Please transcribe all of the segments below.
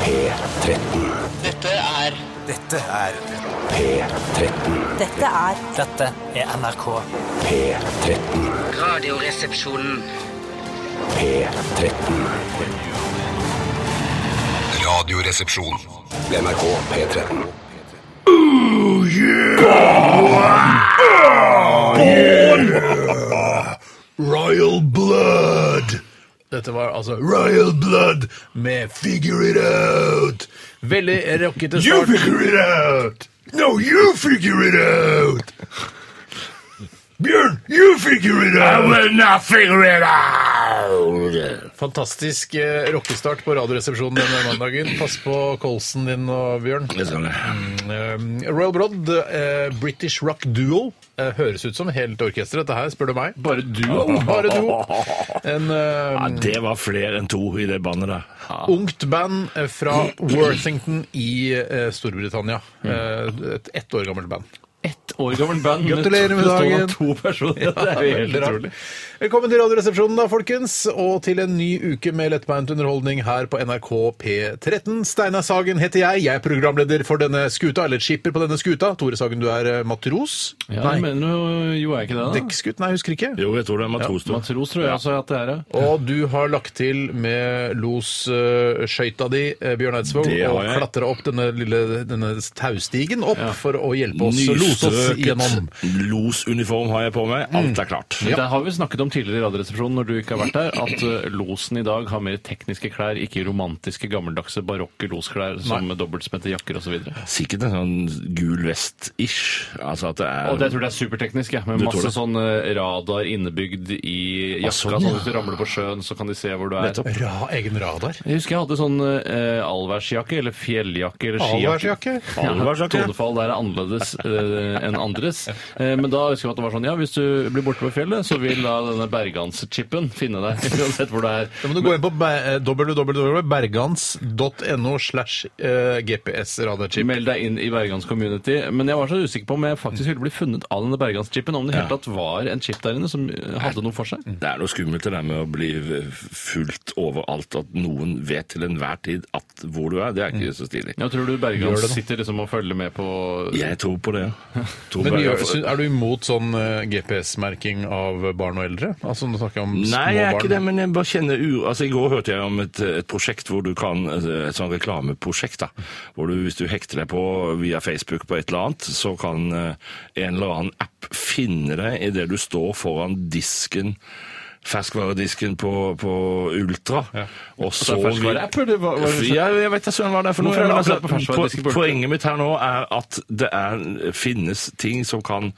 P13. Dette er Dette er P13. Dette er Dette er NRK. P13. Radioresepsjonen. P13. Radioresepsjon. NRK P13. Royal Blood. Dette var altså Royal Blood med Figure It Out. Veldig rockete start. figure it out! No, you figure it out! Bjørn, you figure it out! I will not figure it out! Fantastisk eh, rockestart på Radioresepsjonen denne mandagen. Pass på kolsen din og Bjørn. Um, Royal Broad, eh, British Rock Duo. Eh, høres ut som helt orkester, dette her, spør du meg. Bare du? Bare duo. En eh, Ja, det var flere enn to i det bandet der. ungt band eh, fra Worthington i eh, Storbritannia. Mm. Eh, et ett år gammelt band. Ett år gammel band. men Gratulerer med bestående av dagen. To personer. Det er jo helt Veldig rart. utrolig. Velkommen til Radioresepsjonen, da, folkens, og til en ny uke med lettbeint underholdning her på NRK P13. Steinar Sagen heter jeg. Jeg er programleder for denne skuta, eller skipper på denne skuta. Tore Sagen, du er eh, matros? Ja, jeg mener jo, jo er ikke det, da. Dekksgutt? Nei, jeg husker ikke. Jo, jeg tror det er matros. du. Matros tror jeg også at det er. ja. Og du har lagt til med losskøyta di, eh, Bjørn Eidsvåg, Det har og jeg. klatra opp denne lille denne taustigen opp for å hjelpe oss å lose oss gjennom. Nystrøket losuniform har jeg på meg. Alt er klart. Det har vi snakket om tidligere i Radioresepsjonen når du ikke har vært der, at eh, losen i dag har mer tekniske klær, ikke romantiske, gammeldagse, barokke losklær som med dobbeltsmette jakker osv. Og, så Sikkert en sånn gul vest-ish. Altså at det er og det tror jeg er superteknisk, ja, med Du tror masse det? sånn eh, radar innebygd i jakka. sånn, Sånn ja. hvis du ramler på sjøen, så kan de se hvor du er. Nettopp. Ra, egen radar. Jeg husker jeg hadde sånn eh, allværsjakke, eller fjelljakke, eller skijakke. Allværsjakke. Ja, Allværsjakke, ja. Tonefall der er annerledes eh, enn andres. Eh, men da husker jeg at det var sånn, ja, hvis du blir borte på fjellet, så vil da denne berganschipen finne deg, uansett hvor du er. Da må du gå inn på be- eh, www.bergans.no slash eh, gps-radarchip. Meld deg inn i Bergans community. Men jeg var så usikker på om jeg faktisk ville bli funnet av denne Berganschipen, om det i hele tatt var en chip der inne som eh, hadde noe for seg. Det er noe skummelt det der med å bli fulgt overalt, at noen vet til enhver tid at hvor du er. Det er ikke så stilig. Jeg tror du Bergans sitter liksom og følger med på Jeg tror på det. ja. Tror Men bare- gjør, sy- er du imot sånn eh, GPS-merking av barn og eldre? Altså, nå snakker jeg om små Nei, jeg er ikke det, barn. men jeg bare kjenner ur... Altså, I går hørte jeg om et, et prosjekt hvor du kan Et sånn reklameprosjekt, da. Hvor du, hvis du hekter deg på via Facebook på et eller annet, så kan eh, en eller annen app finne deg idet du står foran disken Ferskvaredisken på, på Ultra. Og så vil- Altså, ferskvareapp, eller hva- hva er det? Ja, jeg vet da søren hva det er for noe. Hvorfor er det men altså, akkurat på ferskvaredisken på Ultra? Poenget mitt her nå er at det er, finnes ting som kan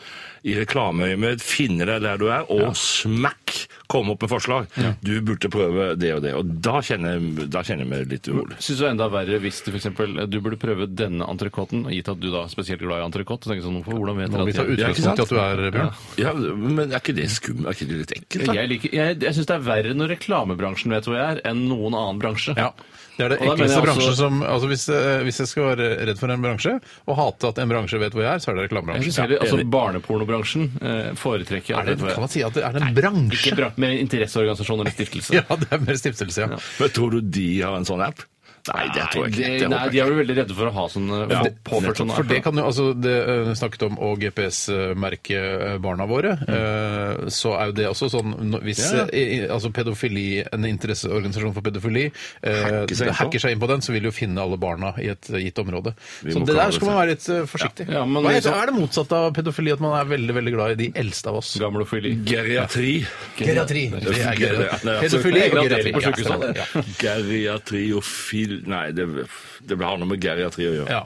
i reklameøyemed finne deg der du er, og smack komme opp med forslag. Du burde prøve det og det. Og da kjenner, jeg- da kjenner jeg meg litt urolig. Syns det er enda verre hvis du f.eks. du burde prøve denne entrecôten, og gitt at du da er spesielt glad i entrecôte. tenker jeg Sånn, hvorfor- hvordan vet Må vi dere ta at jeg- ikke utgangspunkt sant? i at du er Bjørn? Ja, men er ikke det skummelt? Er ikke det litt ekkelt? Da? jeg, liker, jeg, jeg syns det er verre når reklamebransjen vet hvor jeg er, enn noen annen bransje. Ja. Det er det Og da mener jeg enkleste bransje også- som altså hvis, eh, hvis jeg skal være redd for en bransje, og hate at en bransje vet hvor jeg er, så er det Jeg synes reklamebransjen. heller, altså Barnepornobransjen eh, foretrekker jeg Er det, at vet hvor jeg kan er. man si at det er en bransje? Ikke bra, med interesseorganisasjon eller stiftelse. Ja, det er mer stiftelse, ja. Men tror du de har en sånn app? Nei, det tror jeg ikke. Nei, Det det- nei, håper de jeg er vel veldig redde for å ha sånn Ja, ja, påført sånn For det kan jo, altså det eh, snakket om å GPS-merke barna våre, eh, så er jo det også sånn no- hvis Ja. eh, i- altså pedofili, en interesseorganisasjon for pedofili eh, Hacker seg inn på. hacker seg inn på den, så vil de jo finne alle barna i et eh, gitt område. Vi Så må det klare der skal man være litt eh, forsiktig. Ja, men Hva er, liksom- er det motsatt av pedofili, at man er veldig, veldig glad i de eldste av oss? Gamlofili. ikke. Geriatri. Geriatri. Det er geriatri. Nei, altså- Pedofili og Geriatri geriatri. på Ja, sykehuset. stemmer det. Ja. Geriatri og fil... Nei, det, det har noe med geriatri å gjøre. Ja.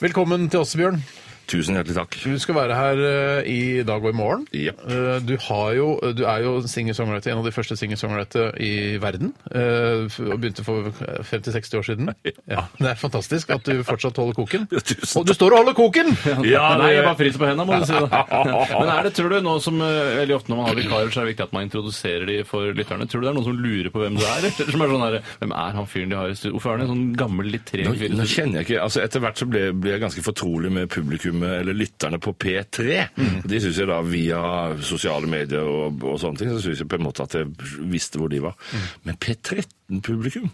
Velkommen til oss, Bjørn. Tusen hjertelig takk. Du skal være her eh, i dag og i morgen. Japp. Eh, Du, har jo, du er jo singer-songwriter, en av de første singer-songwritere i verden. eh, f- Og begynte for 50-60 år siden. Ja, Det er fantastisk at du fortsatt holder koken. Ja, tusen takk. Og du står og holder koken! Ja, Nei, det- jeg bare fryser på hendene, må du si det. Men er det, tror du, nå som eh, veldig ofte når man har vikarer, så er det viktig at man introduserer de for lytterne. Tror du det er noen som lurer på hvem du er? Eller som er sånn her, hvem er han fyren de har i studio? Hvorfor er han en sånn gammel, litt treg Nå, fyr? i nå studio? kjenner jeg ikke, altså Etter hvert så ble, ble jeg ganske fortrolig med publikummet eller lytterne på P3. Mm. De synes jeg da via sosiale medier Mm. og, og sånne ting, så synes jeg på en måte at jeg visste hvor de var. Men P13-publikum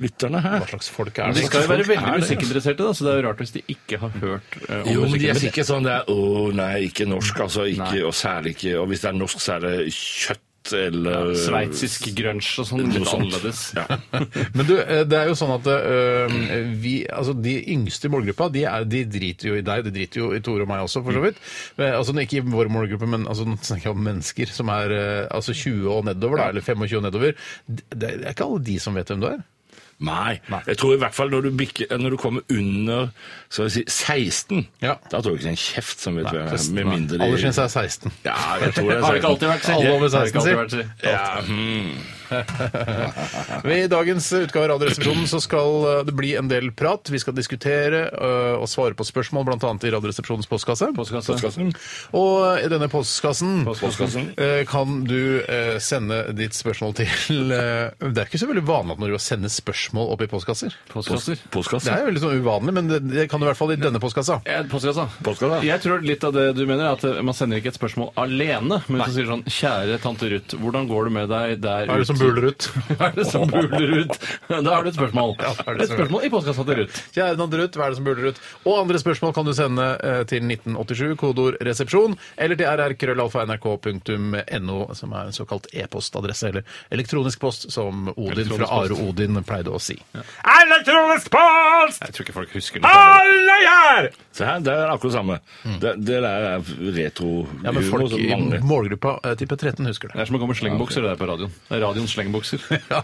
Lytterne her. Hva slags folk er De det? skal jo være Folk er veldig det, altså. musikkinteresserte, da, så det er jo rart hvis de ikke har hørt eh, om Jo, men de er musikken. ikke sånn det er Å nei, ikke norsk, altså. Ikke, Nei. Og særlig ikke Og hvis det er norsk, så er det kjøtt eller Sveitsisk grunge og sånn, Noe litt sånt. annerledes. Ja. Men du, eh, det er jo sånn at eh, vi, altså de yngste i målgruppa, de, er, de driter jo i deg, de driter jo i Tore og meg også, for så vidt. Mm. Men, altså Ikke i vår målgruppe, men altså, nå snakker jeg om mennesker som er eh, altså 20 og nedover, da, eller 25 og nedover. Det, det er ikke alle de som vet hvem du er. Nei. Nei. Jeg tror i hvert fall når du, bikker, når du kommer under så å si, 16, Ja. da tror jeg ikke det er en kjeft som vet hva det er. Nei. Med mindre de Aldersgrensa er 16. Ja, jeg tror det er Har det ikke alltid vært Alle over Har det 16, ikke alltid sier. vært si? Ja, hmm. I dagens utgave av Radioresepsjonen så skal eh, det bli en del prat. Vi skal diskutere eh, og svare på spørsmål, bl.a. i Radioresepsjonens postkasse. Postkasse. Postkassen. Og i denne postkassen Postkassen. eh, kan du eh, sende ditt spørsmål til eh, Det er ikke så veldig vanlig at når du sender spørsmål opp i postkasser. Postkasser. Det Postkassen. er jo veldig sånn uvanlig, men det, det kan du i hvert fall i denne postkassa. Eh, Postkassa. Postkassa. Jeg tror litt av det du mener, er at eh, man sender ikke et spørsmål alene, men hvis du sier sånn Kjære tante Ruth, hvordan går det med deg der Hva er det som buler ut? Hva er det som buler ut? Da har du et spørsmål. Ja, da er det et spørsmål i postkassa til Ruth. Kjære Tante Ruth, hva er det som buler ut? Og andre spørsmål kan du sende eh, til 1987, kodeord 'resepsjon', eller til rrkrøllalfa.nrk.no, som er en såkalt e-postadresse, eller elektronisk post, som Odin fra Are Odin pleide å si. Elektronisk post! Jeg tror ikke folk husker det. Alle her! Se her, det er akkurat det samme. Det, det der er retro Hmm. Ja, men humor folk som i mangler. målgruppa eh, type 13 husker Det det. er som å gå med slengbukser det der på radioen. Det er radioens slengbukser. Ja.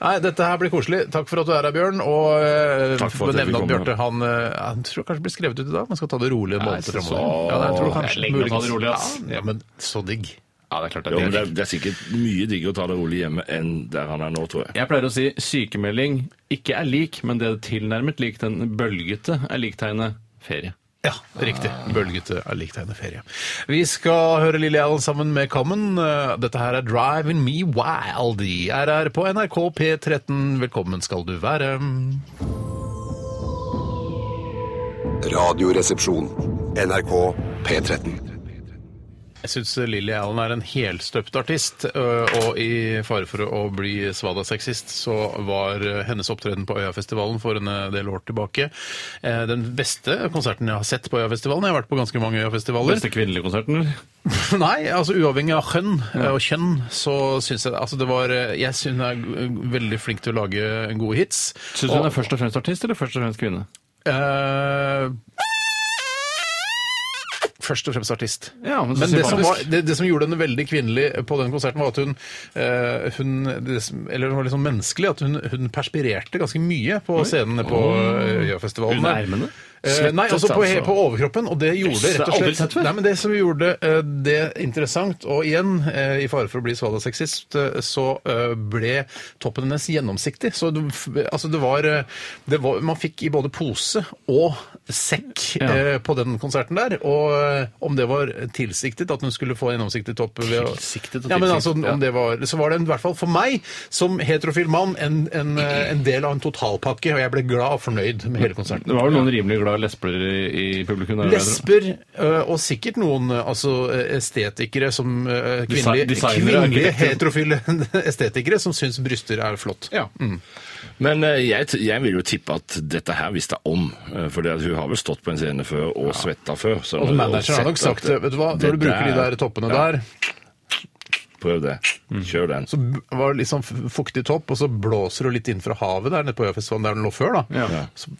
Nei, dette her blir koselig. Takk for at du er her, Bjørn. Og eh, Takk for at jeg nevne at fikk komme. Bjørte han, eh, han tror kanskje blir skrevet ut i dag. Man skal ta det rolig en Nei, måned så- fremover. Ja, nei, jeg tror Det er kanskje lenge å ta det muligens- rolig, ass. Ja, men så digg. Ja, det er klart Jo, men det, det er, det er sikkert mye diggere å ta det rolig hjemme enn der han er nå, tror jeg. Jeg pleier å si sykemelding ikke er lik, men det er tilnærmet lik den bølgete er liktegnet ferie. Ja, riktig. Bølgete er lik tegnet ferie. Vi skal høre Lille Allen sammen med Common. Eh, Dette her er Driving Me Wild i RR på NRK P13. Velkommen skal du være. Radioresepsjon. NRK P13. Jeg syns Lilly Allen er en helstøpt artist, ø, og i fare for å bli svada-sexist, så var ø, hennes opptreden på Øyafestivalen for en ø, del år tilbake eh, den beste konserten jeg har sett på Øyafestivalen. Jeg har vært på ganske mange Øyafestivaler. Beste kvinnelige konserten, eller? Nei, altså uavhengig av kjønn eh, og kjønn, så syns jeg Altså det var eh, Jeg syns hun er g- veldig flink til å lage gode hits. Syns du hun er først og fremst artist, eller først og fremst kvinne? Eh, Først og fremst artist. Ja, men så Men det som, sympatisk. var, det, det som gjorde henne veldig kvinnelig på den konserten, var at hun, eh, hun det, som- Eller hun var liksom menneskelig. At hun, hun perspirerte ganske mye på scenene på eh, Øyafestivalen. Under armene? Eh, nei, Svettet, også på, he- altså. på overkroppen, og det gjorde Jøss, det rett og har jeg aldri slett sett før. Nei, men Det som gjorde eh, det interessant, og igjen, eh, i fare for å bli svada-sexist, eh, så eh, ble toppen hennes gjennomsiktig. Så det, f- altså, det, var, eh, det var Man fikk i både pose og sekk Ja. eh, på den konserten der. Og eh, om det var tilsiktet at hun skulle få en gjennomsiktig topp ved å Tilsiktet og ja, men altså, tilsiktet, ja. om det var, Så var det en- i hvert fall for meg, som heterofil mann, en, en, eh, en del av en totalpakke, og jeg ble glad og fornøyd med hele konserten. Det var vel noen rimelig glade lesber i, i publikum? der, jeg tror. Lesber, ø, eh, og sikkert noen ø, altså, ø, estetikere som ø, kvinnelige, designere, kvinnelige arkitekter. heterofile estetikere som syns bryster er flott. Mm. Ja. Men eh, jeg, t- jeg vil jo tippe at dette her visste jeg om. For hun har vel stått på en scene før og svetta før. så- Og manageren har sett nok sagt at- eh, vet du hva, når du bruker de der- der toppene Ja. der, Prøv det. Kjør den. så b- var det litt sånn f- fuktig topp, og så blåser du litt inn fra havet der nede på Øyafestivalen der den lå før, da. Ja. Ja. Så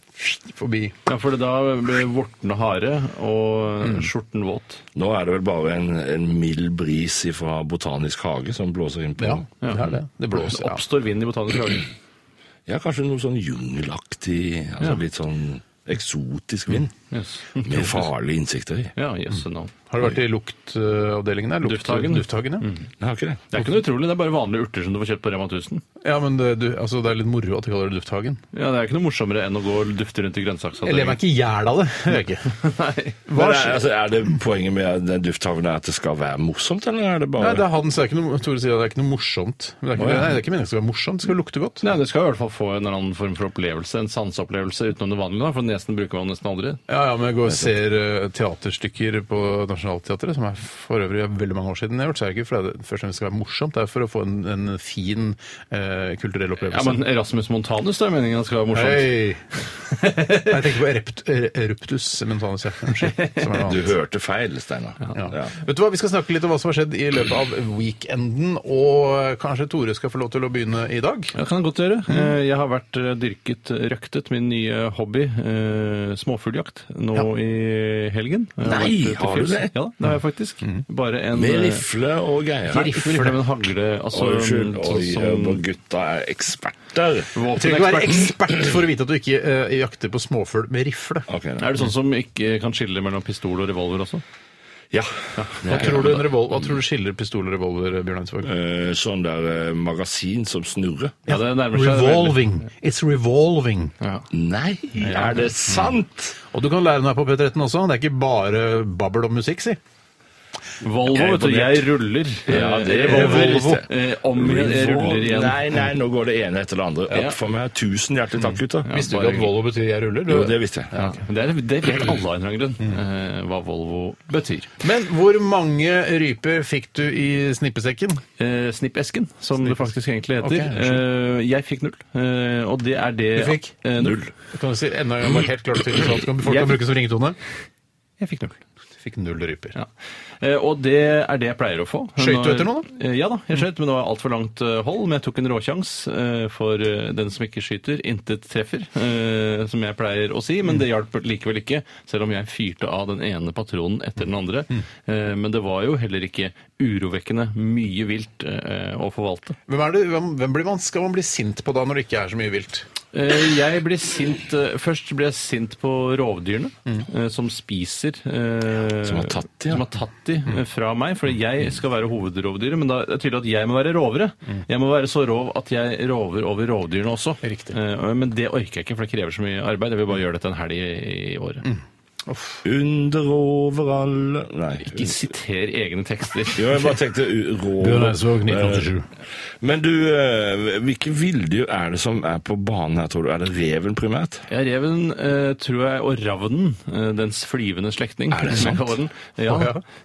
forbi. Ja, for da blir vorten harde og Mm. skjorten våt. Nå er det vel bare en, en mild bris fra Botanisk hage som blåser inn på Ja, det er det. Det blåser. Det Ja. oppstår vind i botanisk hage. Ja, kanskje noe sånn jungelaktig, altså Ja. litt sånn eksotisk vind. Mm. Yes. Med farlige insekter i. Ja, jøsse navn. Har du vært i luktavdelingen der? Lukt- Dufthagen. Dufthagen, ja. Jeg har ikke det. Det er ikke noe utrolig, det er bare vanlige urter som du får kjøpt på Rema 1000. ja, men det, du, altså, det er litt moro at de kaller det Dufthagen. Ja, Det er ikke noe morsommere enn å gå og dufte rundt i Jeg lever grønnsaksavdelingen. meg ikke i hjel av det. Jeg gjør ikke. Nei. Men Hva er, skjer? altså, er det poenget med den dufthagen er at det skal være morsomt, eller er det bare Nei, det er han, så det er ikke noe, Tore sier at det er ikke noe morsomt. Men det er ikke, Å, ja. nei, det er ikke meningen at det skal være morsomt, det skal lukte godt. Nei, Det skal i hvert fall få en eller annen form for opplevelse, en sanseopplevelse utenom det vanlige. da, For nesen bruker man nesten aldri. Ja, ja, men jeg går og ser eh, teaterstykker på Nationaltheatret, som er for øvrig veldig mange år siden jeg har gjort, så er det ikke fordi det først og fremst skal være morsomt, det er for å få en, en fin eh, eh, kulturell Ja, opplevelse. men Sånn Erasmus Montanus, det er meningen at skal være morsomt. Hei! Nei, Jeg tenker på erept, er, eruptus mentanus, ja. Unnskyld. Som er noe Du annet. hørte feil, Steinar. Ja. Ja. Vet du hva, Vi skal snakke litt om hva som har skjedd i løpet av weekenden. Og kanskje Tore skal få lov til å begynne i dag? Ja, det kan jeg godt gjøre. Mm. Eh, Jeg har vært eh, dyrket, røktet, min nye hobby, eh, småfugljakt, nå i helgen. Jeg Nei, vært har du ute til fjells. det? Mm. Ja, det har jeg faktisk. Bare en Med eh, rifle og greier. Nei, rifle med en hagle. Altså, Unnskyld. sånn Oi, som- og gutta er eksperter. Du trenger ikke være ekspert for å vite at du ikke eh, jakter på småfugl med rifle. Ok, nei. Er det sånn som ikke kan skille mellom pistol og revolver også? Ja. Hva tror du, en revol hva tror du skiller pistol og revolver, Bjørn Eidsvåg? Eh, Sånn der eh, magasin som snurrer. Ja, det nærmer seg veldig. Revolving. It's revolving. Ja. Nei, er det sant? Og du kan lære den her på P13 også. Det er ikke bare babbel om musikk, si. Volvo, vet du. Jeg ruller. Ja, det er Eh, revolver. Volvo. Eh, Om igjen, jeg ruller igjen. Nei, nei, nå går det ene etter det andre. Ja. Opp for meg. Tusen hjertelig takk, gutta. Visste du ikke at Volvo betyr 'jeg ruller'? Jo, det visste jeg. Ja. men Det, er, det vet alle av en eller annen grunn, eh, hva Volvo betyr. Men hvor mange ryper fikk du i snippesekken? Eh, Snippesken, som det faktisk egentlig Ok, heter. unnskyld. eh, jeg fikk null, eh, og det er det Du fikk? eh, null. Kan du si enda en gang bare helt klart og tydelig, sånn at folk kan bruke som ringetone? Jeg fikk null. Du fikk null ryper. Ja. Eh, Og det er det jeg pleier å få. Skøyt du Nå- etter noe, Mm. Eh, Ja da, jeg skøyt, men det var altfor langt eh, hold. Men jeg tok en råkjangs eh, for eh, den som ikke skyter, intet treffer, eh, som jeg pleier å si. Mm. Men det hjalp likevel ikke, selv om jeg fyrte av den ene patronen etter den andre. Mm. Eh, Men det var jo heller ikke urovekkende mye vilt eh, å forvalte. Hvem, er det, hvem, hvem blir man, skal man bli sint på da, når det ikke er så mye vilt? Eh, Jeg blir sint eh, Først blir jeg sint på rovdyrene eh, som spiser eh, Som har tatt de, ja. Mm. som har tatt de, eh, fra meg. For jeg skal være hovedrovdyret, men da er det tydelig at jeg må være rovere. Mm. Jeg må være så rov at jeg rover over rovdyrene også. Riktig. Eh, Men det orker jeg ikke, for det krever så mye arbeid. Jeg vil bare gjøre dette en helg i i året. Mm. Under over alle Nei. Ikke siter egne tekster. Jo, jeg bare tenkte u- rå Eh, Men du, eh, hvilke villdyr er det som er på banen her, tror du? Er det reven primært? Ja, Reven eh, tror jeg, og ravnen, eh, dens flyvende slektning, Er det som jeg sant? kaller den. Ja,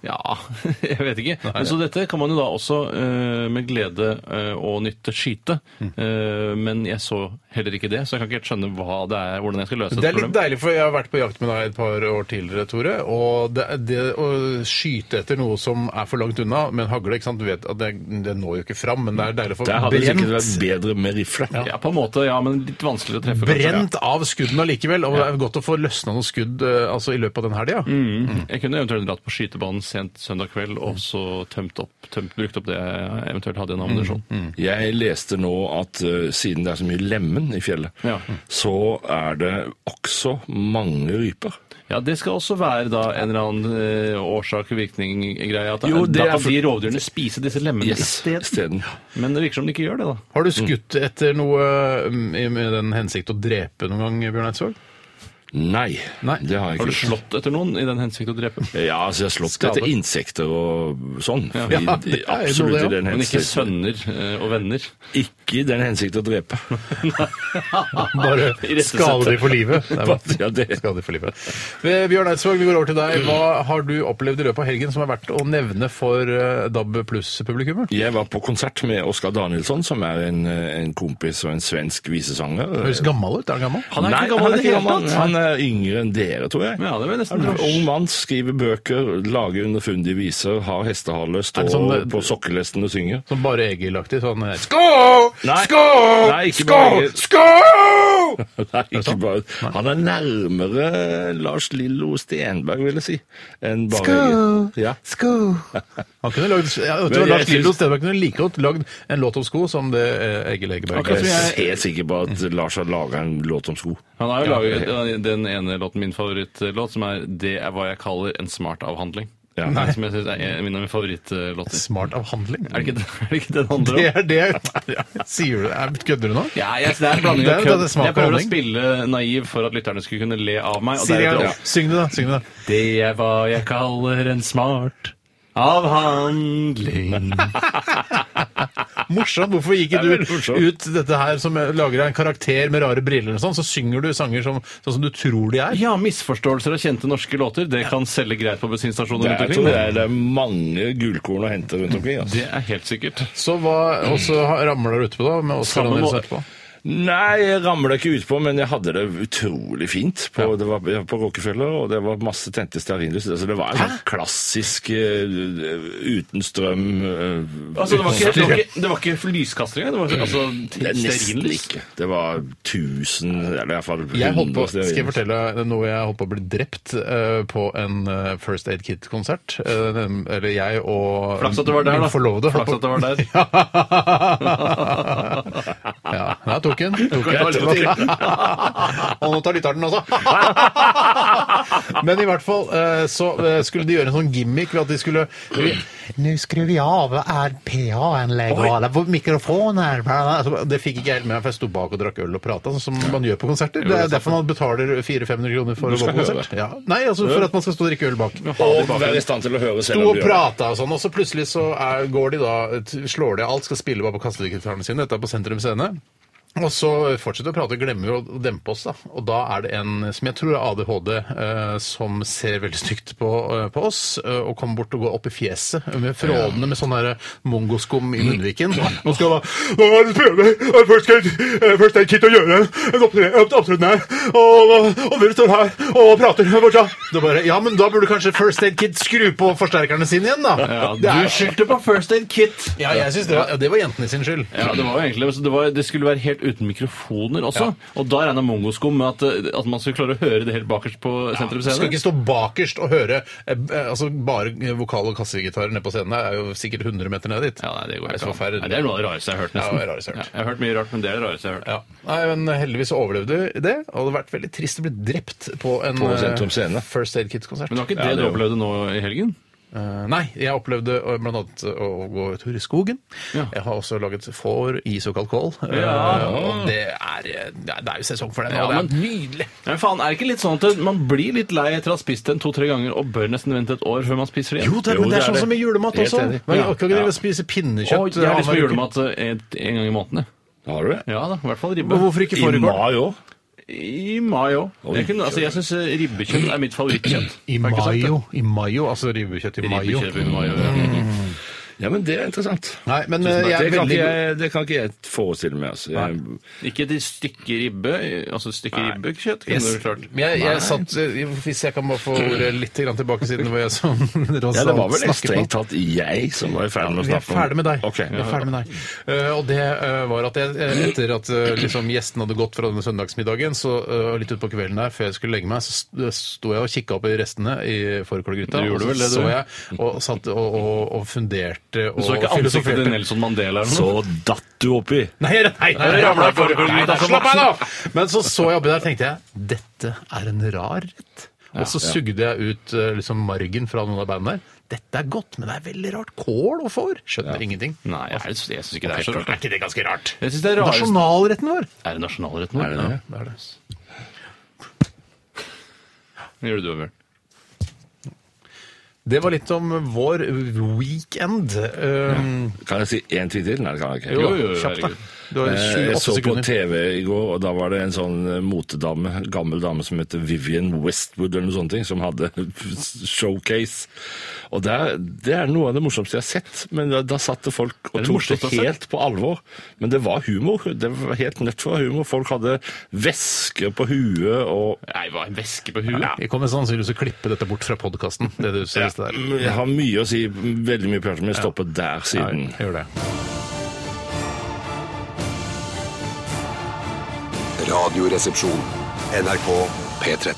ja. jeg vet ikke. Men så dette kan man jo da også eh, med glede eh, og nytte skyte. Mm. Eh, men jeg så heller ikke det, så jeg kan ikke helt skjønne hva det er, hvordan jeg skal løse Det dette er litt problemet. deilig, for jeg har vært på jakt med deg et par år tidligere, Tore. Og det, det å skyte etter noe som er for langt unna med en hagle ikke sant? Du vet at det, det når jo ikke fram, men det er deilig å få Der hadde det sikkert vært brent, bedre med rifle. Ja, på en måte, ja, men litt vanskeligere å treffe. kanskje. brent av skuddene allikevel. Og det er godt å få løsna noen skudd eh, altså, i løpet av den helga. Mm. Jeg kunne eventuelt dratt på skytebanen sent søndag kveld og så tømt opp, tømt, brukt opp det jeg eventuelt hadde igjen Mm. av ammunisjon. Jeg leste nå at eh, siden det er så mye lemen i fjellet, Ja. så er det også mange ryper. Ja, det skal også være da en eller annen eh, årsak-virkning-greie. At Jo, det da er kan for- de rovdyrene spise disse lemmene Yes, isteden. isteden. Men det virker som de ikke gjør det, da. Har du skutt etter noe mm, i- med den hensikt å drepe noen gang, Bjørn Eidsvåg? Nei, Nei. det har jeg ikke. Har du slått etter noen i den hensikt å drepe? Ja, altså jeg har slått Skadet. etter insekter og sånn. I, Ja, i, det er jo absolutt det, ja. i den Men ikke hensikt. sønner eh, og venner. Ikke i den hensikt å drepe. Bare rette skade de for livet. Det er bra. Ja, det. Skade for livet. Eh, Bjørn Eidsvåg, vi går over til deg. Hva har du opplevd i løpet av helgen som er verdt å nevne for eh, DAB pluss-publikummet? Jeg var på konsert med Oskar Danielsson, som er en, eh, en kompis og en svensk visesanger. Høres gammel ut. Er han gammel? Han er Nei, ikke gammel han i er, det hele ikke gammel. tatt. han er yngre enn dere, tror jeg. Ja, det vil jeg nesten Han er en tro. Ung mann, skriver bøker, lager underfundige viser, har hestehale, Er står det sånn- på sokkelesten og synger. Som bare Egil-aktig. Sånn eh, sk- Skål! Skål! Nei, ikke Skål! Skål! Nei, ikke bare. Han er nærmere Lars Lillo Stenberg, vil jeg si, enn bare Skål! Ja. Han kunne lagd ja, vet du, Men hva, jeg Lars Lillo syns- Stenberg kunne like godt lagd en låt om sko som det eh, Egil Egeberg Akkurat som Jeg jeg- er helt sikker på at Lars har laga en låt om sko. Han har jo laget eh, den ene låten, min favorittlåt, som er 'Det er hva jeg kaller en smart avhandling'. Ja. Nei. Som jeg synes er en- min av mine favorittlåter. Smart av handling. Er det ikke, er det ikke den det handler om? Det er det Ja, Sier du det? Er- Kødder du nå? Ja, jeg, det er en blanding Det er av jo kødd. det smak Jeg prøver å og spille naiv for at lytterne skulle kunne le av meg. Og Sier jeg, deretter ja. opp. Syng det, da. Syng det, da. Det er hva jeg kaller en smart avhandling. morsomt. Hvorfor gikk Det er du veldig morsomt. ut dette her som lager deg en karakter med rare briller og sånn, så synger du sanger som, sånn som du tror de er? Ja, misforståelser av kjente norske låter. Det kan selge greit på bensinstasjoner Det rundt er, jeg tror omkring. det er, det er mange gullkorn å hente rundt omkring. Altså. Det er helt sikkert. Så hva og så ramler du utpå da? Med Oscar Samme Andersen må- etterpå? Nei, jeg ramla ikke utpå, men jeg hadde det utrolig fint på, det var, jeg var på Rockefeller, og det var masse tente stearinlys. Altså, det var en sånn klassisk eh, uten strøm eh, Altså, det var ikke, uten- det var ikke, det var ikke lyskasting engang. Det var altså, Det er nesten stearinlys. ikke. Det var 1000, eller i hvert fall Jeg holdt på, 100 skal jeg fortelle deg noe jeg holdt på å bli drept eh, på en eh, First Aid Kid-konsert? Eh, den- eller jeg og Flaks at du var der, min da. forlovede. holdt Flaks at du var der. på- ja, jeg tok den. Tok den. ta litt til. og nå tar lytteren den også. Men i hvert fall eh, så eh, skulle de gjøre en sånn gimmick ved at de skulle Nå skrur vi av RPA-anlegget og alle mikrofoner Altså, Det fikk ikke jeg helt med meg, for jeg sto bak og drakk øl og prata, sånn som man gjør på konserter. Det er derfor man betaler 400-500 kroner for å gå skal på konsert. Ja. Nei, altså for at man skal stå og drikke øl bak. Og være i stand til å høre Sto selv om og du gjør det. prata og sånn, og så plutselig så er, går de da, t- slår de alt, skal spille bare på kassegitarene sine, dette er på Sentrum Scene. Og så fortsetter vi å prate, glemmer å dempe oss, da. Og da er det en som jeg tror er ADHD, eh, som ser veldig stygt på, eh, på oss, eh, og kommer bort og går opp i fjeset med frådene med sånn derre mongoskum i munnviken. Og skal bare Nå er det prøve! eh, Først skal eh, først er det Kit å gjøre en opptre- en opptreden her, og, og dere står her og prater fortsatt. Da bare Ja, men da burde kanskje First Aid Kit skru på forsterkerne sine igjen, da. Det er- du skyldte på First Aid Kit. ja, jeg synes det var, ja, det var jentene sin skyld. Ja, det var jo egentlig, så det, var, det skulle være helt uten mikrofoner også. Og da regna Mongoskum med at, eh, at man skulle klare å høre det helt bakerst på Sentrum Skal Scene. ikke stå bakerst og høre eh, eh, altså bare eh, vokal- og kassegitarer nede på scenen. Det er jo sikkert 100 meter ned dit. Ja, nei, det går er ikke så an. forferdelig. Nei, Det er noe av det rareste jeg har hørt. Ja, nesten. det er det rareste jeg har hørt. Ja, jeg har hørt mye rart, men det er det rareste jeg har hørt. Ja. Nei, men Heldigvis så overlevde du det. Det hadde vært veldig trist å bli drept på en På eh, Sentrum Scene. First Aid Kids-konsert. Men det var ikke Ja, det det du er jo- opplevde nå i helgen? Eh, nei, jeg opplevde eh, blant annet å gå tur i skogen. Ja. Jeg har også laget får i såkalt kål. eh, Ja. og det er, eh, det er- det er jo sesong for det nå. Ja, det er nydelig! Men faen, er det ikke litt sånn at man blir litt lei etter å ha spist den to-tre ganger og bør nesten vente et år før man spiser igjen? Jo, det, men det er sånn som i julemat Helt også. enig. Man Ja. kan ikke drive Ja. og spise Å, pinnekjøtt. jeg har lyst på annenhver uke. julemat eh, en, en gang i måneden. jeg. Har du det? Ja da, i hvert fall ribbe. Men hvorfor ikke I fårikål? mai òg? I mai òg. Jeg, kunne- altså, jeg syns ribbekjøtt er mitt favorittkjøtt. I Har jeg ikke sagt det? mayo. I mayo, altså ribbekjøtt i mayo. Ribbekjøtt i mayo, ja. Ja, men det er interessant. Nei, men Tusen eh, takk. jeg det, er kan veldig ikke jeg, det kan ikke jeg forestille meg. Altså. Jeg, Ikke et stykke ribbe, altså et stykke ribbekjøtt kunne du klart. Men jeg, jeg satt, eh, Hvis jeg kan bare få ordet litt grann tilbake, siden det var jeg som tross ja, det var vel alt snakket nå. Sånn strengt tatt jeg som var i ferd med å Vi er snakke om ferdig med deg. Ok. Vi er ferdig med deg. Eh, og det eh, var at jeg, eh, etter at eh, liksom gjestene hadde gått fra denne søndagsmiddagen, så eh, litt utpå kvelden der, før jeg skulle legge meg, så st- eh, sto jeg og kikka opp i restene i fårikålgryta. Du gjorde og så vel det, du? Så jeg og satt og, og, og funderte og Du så ikke ansiktet til filosoferte. Nelson Mandela eller Så noe? datt du oppi. Nei, nei, nei, nei, det ramlet i fårikålgryta nei, som slapp av, voksen. da! Men så så jeg oppi der og tenkte jeg, dette er en rar rett. Og så sugde jeg ut eh, liksom margen fra noen av bandene der. Dette er godt, men det er veldig rart. Kål og får. Skjønner ingenting. Nei, jeg, jeg syns ikke det er så Er rart. ikke det ganske rart? Jeg synes det er rarest. Nasjonalretten vår. Er det nasjonalrett nå? Er det det? Ja, det er det. Hva gjør du, Bjørn? Det var litt om vår weekend. Um, Kan jeg si én ting til? Nei, det kan jeg ikke. Jo, jo, jo, Kjapt, da. herregud. Du har Eh, 28 Jeg så på sekunder. TV i går, og da var det en sånn eh, motedame, gammel dame som heter Vivian Westwood eller noe sånt, som hadde showcase. Og der, det er noe av det morsomste jeg har sett, men da, da satt det folk og det tok morsomste det jeg har helt på alvor. Men det var humor. Det var helt nødt for å være humor. Folk hadde væsker på huet og Nei, hva, en veske på huet? Vi kommer sannsynligvis til å klippe dette bort fra podkasten. Det du ser i sted der. Jeg har mye å si, veldig mye pjatt, men jeg stopper der siden. Nei, Gjør det. Radioresepsjon. NRK P13.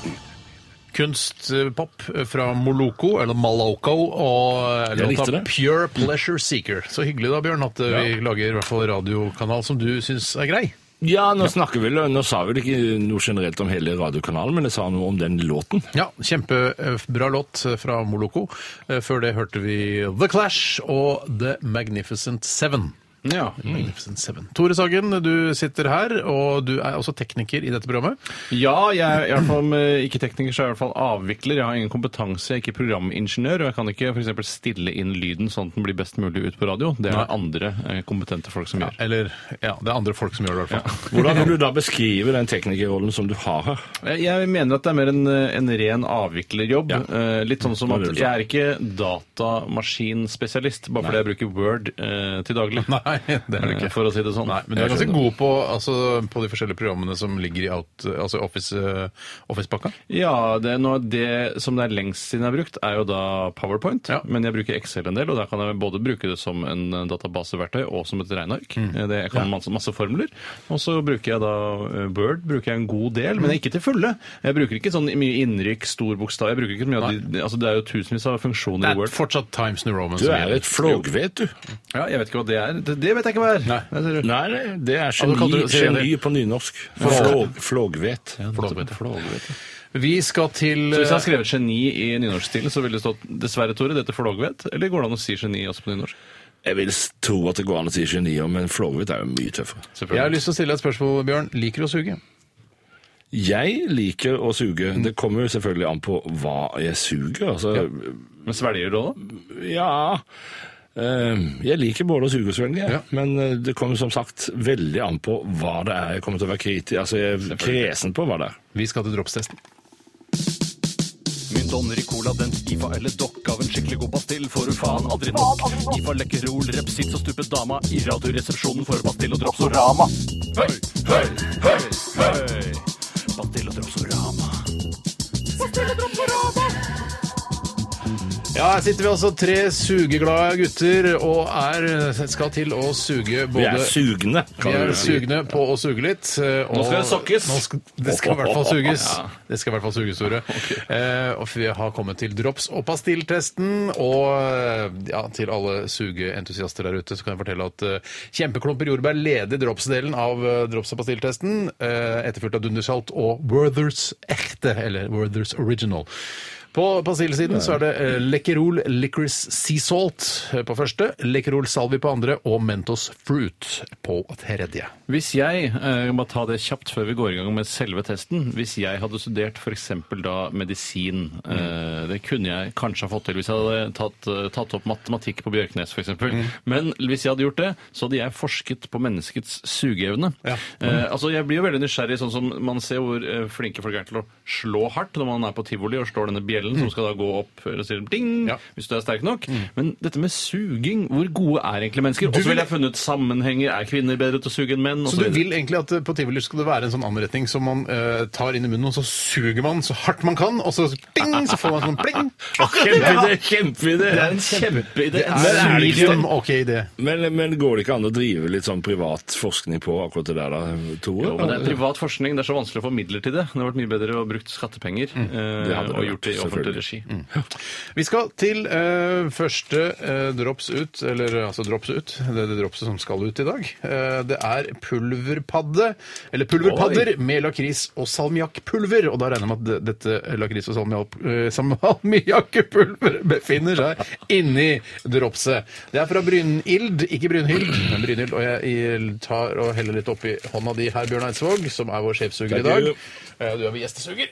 Kunstpop fra Moloko, eller Maloko, og Jeg likte låta det. Pure Pleasure Seeker. Så hyggelig da, Bjørn, at eh, vi lager i hvert fall radiokanal som du syns er grei. Ja, nå snakker vi Nå sa vi vel ikke noe generelt om hele radiokanalen, men jeg sa noe om den låten. Ja, kjempebra eh, låt fra Eh, Moloko. Eh, Før det hørte vi The Clash og The Magnificent Seven. Ja. Mm. Magnificent Seven. Tore Sagen, du sitter her, og du er også tekniker i dette programmet. Ja, jeg er i hvert fall om eh, ikke tekniker, så er jeg i hvert fall avvikler. Jeg har ingen kompetanse, jeg er ikke programingeniør, og jeg kan ikke for eksempel stille inn lyden sånn at den blir best mulig ut på radio. Det er andre eh, kompetente folk som gjør. Eller ja, det er andre folk som gjør det, i hvert fall. Hvordan vil du da beskrive den teknikerrollen som du har her? Jeg- Jeg mener at det er mer en, en ren avviklerjobb. Eh, Litt sånn som Hva at vil du si? jeg er ikke datamaskinspesialist, bare fordi jeg bruker Word eh, til daglig. Nei, det er du ikke. Eh, For å si det sånn. Nei, men du er Jeg ganske skjønner. god på, altså, på de forskjellige programmene som ligger i out, altså office, eh, Office-pakka. Ja, det, er noe av det som det er lengst siden jeg har brukt, er jo da PowerPoint. Ja. Men jeg bruker Excel en del, og der kan jeg både bruke det som en eh, databaseverktøy og som et regneark. Mm. Eh, Det, jeg kan masse, masse formler. Og så bruker jeg da eh, Word bruker jeg en god del, men ikke til fulle. Jeg bruker ikke sånn mye innrykk, stor bokstav. Jeg bruker ikke så mye av de, altså Det er jo tusenvis av Det funksjoner i er Word. fortsatt Times New Roman Du som er gjelder. et flågvet, du. Ja, jeg vet ikke hva det er. Det, det vet jeg ikke hva er. Nei. Der ser du. Nei, nei, det er Ja, du kalte geni, det- geni på nynorsk. Flåg, flågvet. Flågvet. Flågvet. Vi skal til Så hvis jeg har skrevet 'geni' i nynorskstil, så ville det stått 'dessverre, Tore, dette flågvet'? Eller går det an å si 'geni' også på nynorsk? Jeg vil s- tro at det går an å si geni om, men flågvet er jo mye tøffere. Jeg har lyst til eh, å stille deg et spørsmål, Bjørn. Liker du å suge? Jeg liker å suge. Det kommer jo selvfølgelig an på hva jeg suger. Altså, Men svelger du òg, da? Ja eh, Jeg liker både å suge og svelge, jeg. men eh, det kommer som sagt veldig an på hva det er jeg kommer til å være kritisk Altså, jeg er kresen på hva det er. Vi skal til dropstesten. Mynt og ånder i cola, den IFA eller dokk av en skikkelig god pastill, får du faen aldri nok. IFA lekkerol, repsits og stupet dama, i radioresepsjonen får du pastill og dropsorama. Høy, høy, høy, høy! Pastill og dropsorama. Ja, her sitter vi altså tre sugeglade gutter og er, skal til å suge Vi både er sugne. Vi kan er du si. sugne på å suge litt. eh, Og skal det sokkes. nå skal- det skal i hvert fall suges. Det skal i hvert fall suges, Tore. Eh, og vi har kommet til drops- og pastilltesten. Og eh, ja, til alle sugeentusiaster der ute så kan jeg fortelle at eh, kjempeklumper jordbær leder dropsdelen av eh, drops- og pastilltesten. Eh, etterfulgt av dundersalt og Werthers ekte, eller Werthers original. På pastillsiden så er det eh, Lekkerol Licorice Sea Salt eh, på første, Lekkerol Salvi på andre og Mentos Fruit på tredje. Hvis jeg, eh, jeg må ta det kjapt før vi går i gang med selve testen, hvis jeg hadde studert f.eks. da medisin, eh, det kunne jeg kanskje ha fått til hvis jeg hadde tatt, eh, tatt opp matematikk på Bjørknes f.eks. eksempel. Men hvis jeg hadde gjort det, så hadde jeg forsket på menneskets sugeevne. Eh, altså, jeg blir jo veldig nysgjerrig, sånn som man ser hvor eh, flinke folk er til å slå hardt når man er på tivoli og slår denne bjellen som skal da gå opp eh, og sier ding Ja. hvis du er sterk nok. Men dette med suging, hvor gode er egentlig mennesker? Og så vil- ville jeg funnet sammenhenger. Er kvinner bedre til å suge enn menn? Og Så du vil egentlig at eh, på tivoli skal det være en sånn anretning som man eh, tar inn i munnen, og så suger man så hardt man kan, og så ding, så får man sånn pling. Kjempeidé! Kjempeidé! en kjempeidé. Det er en medium ok idé. Men, men går det ikke an å drive litt sånn privat forskning på akkurat det der, da, Tore? Jo, men det er privat forskning. Det er så vanskelig å få midler til det. Det hadde vært mye bedre å brukt skattepenger Mm. Det eh, hadde det og vært, gjort det i offentlig selvfølgelig. Mm. regi. Vi skal til eh, første eh, drops ut, eller eh, altså drops ut, det er det dropset som skal ut i dag. Eh, det er pulverpadde, eller pulverpadder med lakris og salmiakkpulver, og da regner jeg med at det- dette lakris og salmiak- eh, salmiakkpulver befinner seg inni dropset. Det er fra Brynild, ikke Brynhild, men Brynhild, og jeg, jeg tar og heller litt oppi hånda di her, Bjørn Eidsvåg, som er vår sjefsuger i Takk, dag. Gud. Eh, du er vår gjestesuger.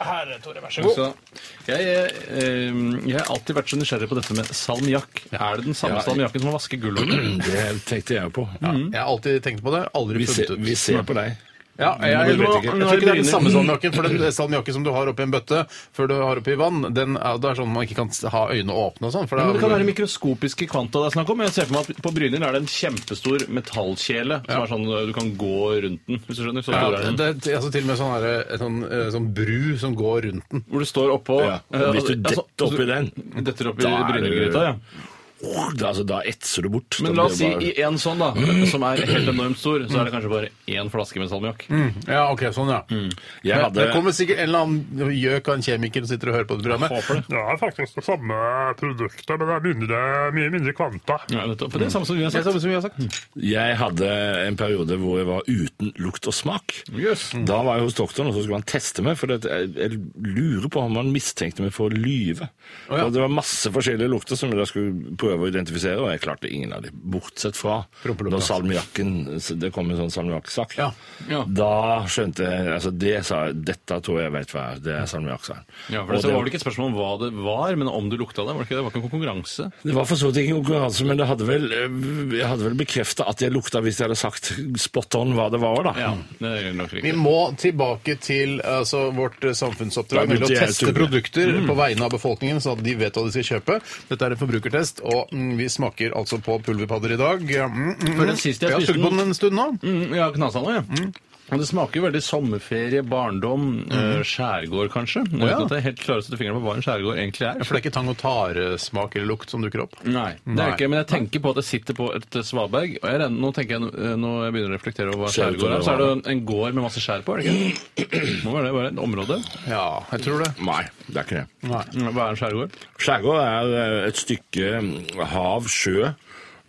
Her, Tore, vær så Så, god. jeg, eh, jeg har alltid vært så nysgjerrig på dette med salmiakk. Er det den samme Ja. salmiakken som å vaske gulvet? Det tenkte jeg på. Mm. Jeg har alltid tenkt på det. Aldri Mm. Vi, ser, funnet ut. vi ser på deg. Ja, jeg, jeg, Nå vet tror jeg ikke ikke. det er den samme salmiakken. For den salmiakken som du har oppi en bøtte før du har oppi vann, den er, det er sånn man ikke kan ha øynene åpne og sånn. For Men det kan det være er, mikroskopiske kvanta det er snakk om. Jeg ser for meg at På Brynhild er det en kjempestor metallkjele som er sånn eh, du kan gå rundt den. hvis du skjønner. Så stor er ja, den. det er altså til og med sånn, her, sånn, eh, sånn bru som går rundt den. Hvor du står oppå Ja, og eh, hvis du altså- detter oppi den, Detter oppi da er du- Brynhild-gryta, ja. Åh, da- altså, da etser du bort. Men Da la oss si blir det i en sånn, da, som er helt enormt stor, så er det kanskje bare én flaske med salmiakk. Ja, ok, sånn, ja. bare- Mm. Jeg Det hadde kommer sikkert en eller annen gjøk av en kjemiker som sitter og hører på det programmet. Det er faktisk det samme produktet, men det er mindre, mye mindre kvanta. Ja, nettopp. For det er samme som vi har Det er sagt. samme som vi har sagt. Jeg hadde en periode hvor jeg var uten lukt og smak. Da var jeg hos doktoren, og så skulle han teste meg. For det, jeg, jeg lurer på om han mistenkte meg for å lyve. ja. Og det var masse forskjellige lukter som jeg da skulle prøve å identifisere, og jeg klarte ingen av dem. Bortsett fra Prompeloppa. når salmiakken Det kom en sånn salmiakksak. Ja. Ja. Da skjønte jeg altså det sa jeg, Dette tror jeg jeg vet hva er. Det er salmiakksaren. Ja, for Og det, så var det ikke et spørsmål om hva det var, men om du lukta det. Var det ikke det? Det var ikke en konkurranse. Det var for så vidt ikke en konkurranse, men det hadde vel, eh, jeg hadde vel bekrefta at jeg lukta hvis jeg hadde sagt spot on hva det var, da. Ja, Mm, det er nok Vi riktig. må tilbake til altså, vårt eh, samfunnsoppdrag, Da begynte nemlig å jeg, teste Tore. produkter Mm. på vegne av befolkningen, sånn at de vet hva de skal kjøpe. Dette er en forbrukertest, og mm, vi smaker altså på pulverpadder i dag. Ja, Mm, mm, For mm. den siste jeg har spiste sugd på den- den en stund nå. Mm, ja, knasa nå, ja. Og det smaker jo veldig sommerferie, barndom, eh, skjærgård kanskje. Uten ja. at jeg helt klarer å sette fingeren på hva en skjærgård egentlig er. For det er ikke tang- og taresmak eller lukt som dukker opp? Nei, det er ikke, men jeg tenker på at jeg sitter på et eh, svaberg, og jeg, renner- nå tenker jeg, eh, når jeg begynner å reflektere over hva Skjær skjærgård utover er, så er det en gård med masse skjær på, er det ikke? Nå er det bare et område. Ja, jeg tror det. Nei, det er ikke det. Hva er en skjærgård? Skjærgård er eh, et stykke mm, hav, sjø,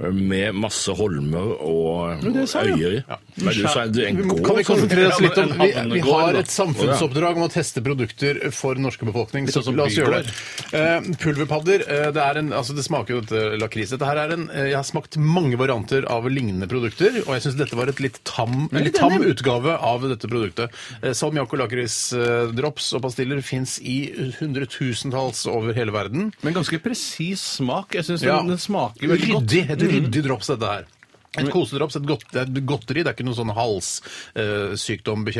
eh, med masse holmer og det sa jeg. øyer i. Men du sa du, en gård? Kan vi konsentrere oss litt om sånn. Ja, Vi, men en vi havnegård, har da. et samfunnsoppdrag om å teste produkter for norske befolkning, så sånn som la oss gjøre det. Eh, pulverpadder, eh, det, er en, altså det smaker jo dette lakris. Dette her er en, eh, jeg har smakt mange varianter av lignende produkter, og jeg syns dette var et litt tam, en litt tam utgave av dette produktet. Eh, salmiakk og lakrisdrops og pastiller fins i hundretusentalls over hele verden. Men ganske presis smak. Jeg syns Ja. den, den smaker veldig godt. Mm. Ryddig, et ryddig drops, dette her. Et kosedrops, et, godt, det er et godteri. Det er ikke noe sånn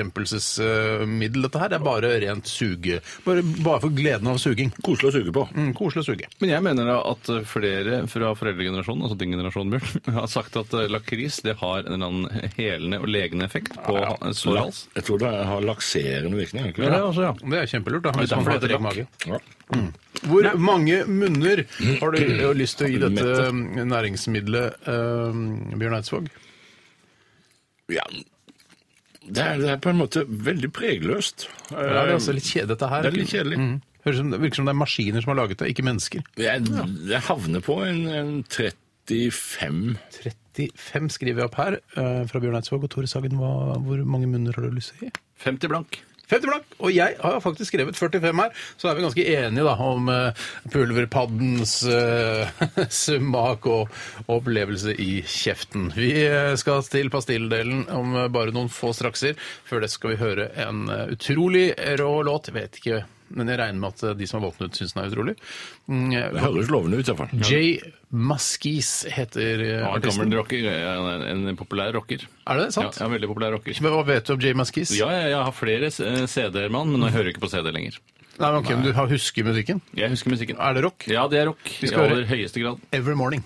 halssykdombekjempelsesmiddel, dette her. Det er bare rent suge. Bare, bare for gleden av suging. Koselig å suge på. Mm, koselig å suge. Men jeg mener da at flere fra foreldregenerasjonen, altså din generasjon, Bjørn, har sagt at eh, lakris det har en eller annen helende og legende effekt på ja, sår hals. Jeg tror det har lakserende virkning. er det Ja, Ikke? det er også, ja. Det er kjempelurt. da. Hvis derfor man har det heter trekk mage. det? Ja. Hvor mange munner har du eh, lyst til å gi dette mm, Mette. næringsmiddelet, eh, Bjørn Eidsvåg? Ja. Det er, det er på en måte veldig pregløst. Det er altså litt kjedelig, dette her. Eh, Det er litt kjedelig. Mm. Høres som, det virker som det er maskiner som har laget det, ikke mennesker. Jeg, jeg havner på en, en 35 35 skriver jeg opp her eh, fra Bjørn Eidsvåg. Og Tore Sagen, hva, hvor mange munner har du lyst til å gi? 50 blank. 50 blank! Og jeg har faktisk skrevet 45 her, så er vi ganske enige da om eh, pulverpaddens eh, smak og opplevelse i kjeften. Vi eh, skal til pastilldelen om eh, bare noen få strakser. Før det skal vi høre en eh, utrolig rå låt. Jeg vet ikke, men jeg regner med at eh, de som har våknet, syns den er utrolig. Mm, Det høres lovende ut, iallfall. Jay Maskis heter eh, Ja, en artisten. gammel rocker. ja, En, en populær rocker. Er det sant? Ja, en veldig populær rocker. Men Hva vet du om Jay Maskis? Ja, jeg, jeg har flere eh, CD-er, mann, men jeg hører ikke på CD lenger. Nei, men ok, men Du har- husker musikken? Jeg husker musikken. Er det rock? Ja, det er rock. I skal høre- aller høyeste grad. Every morning.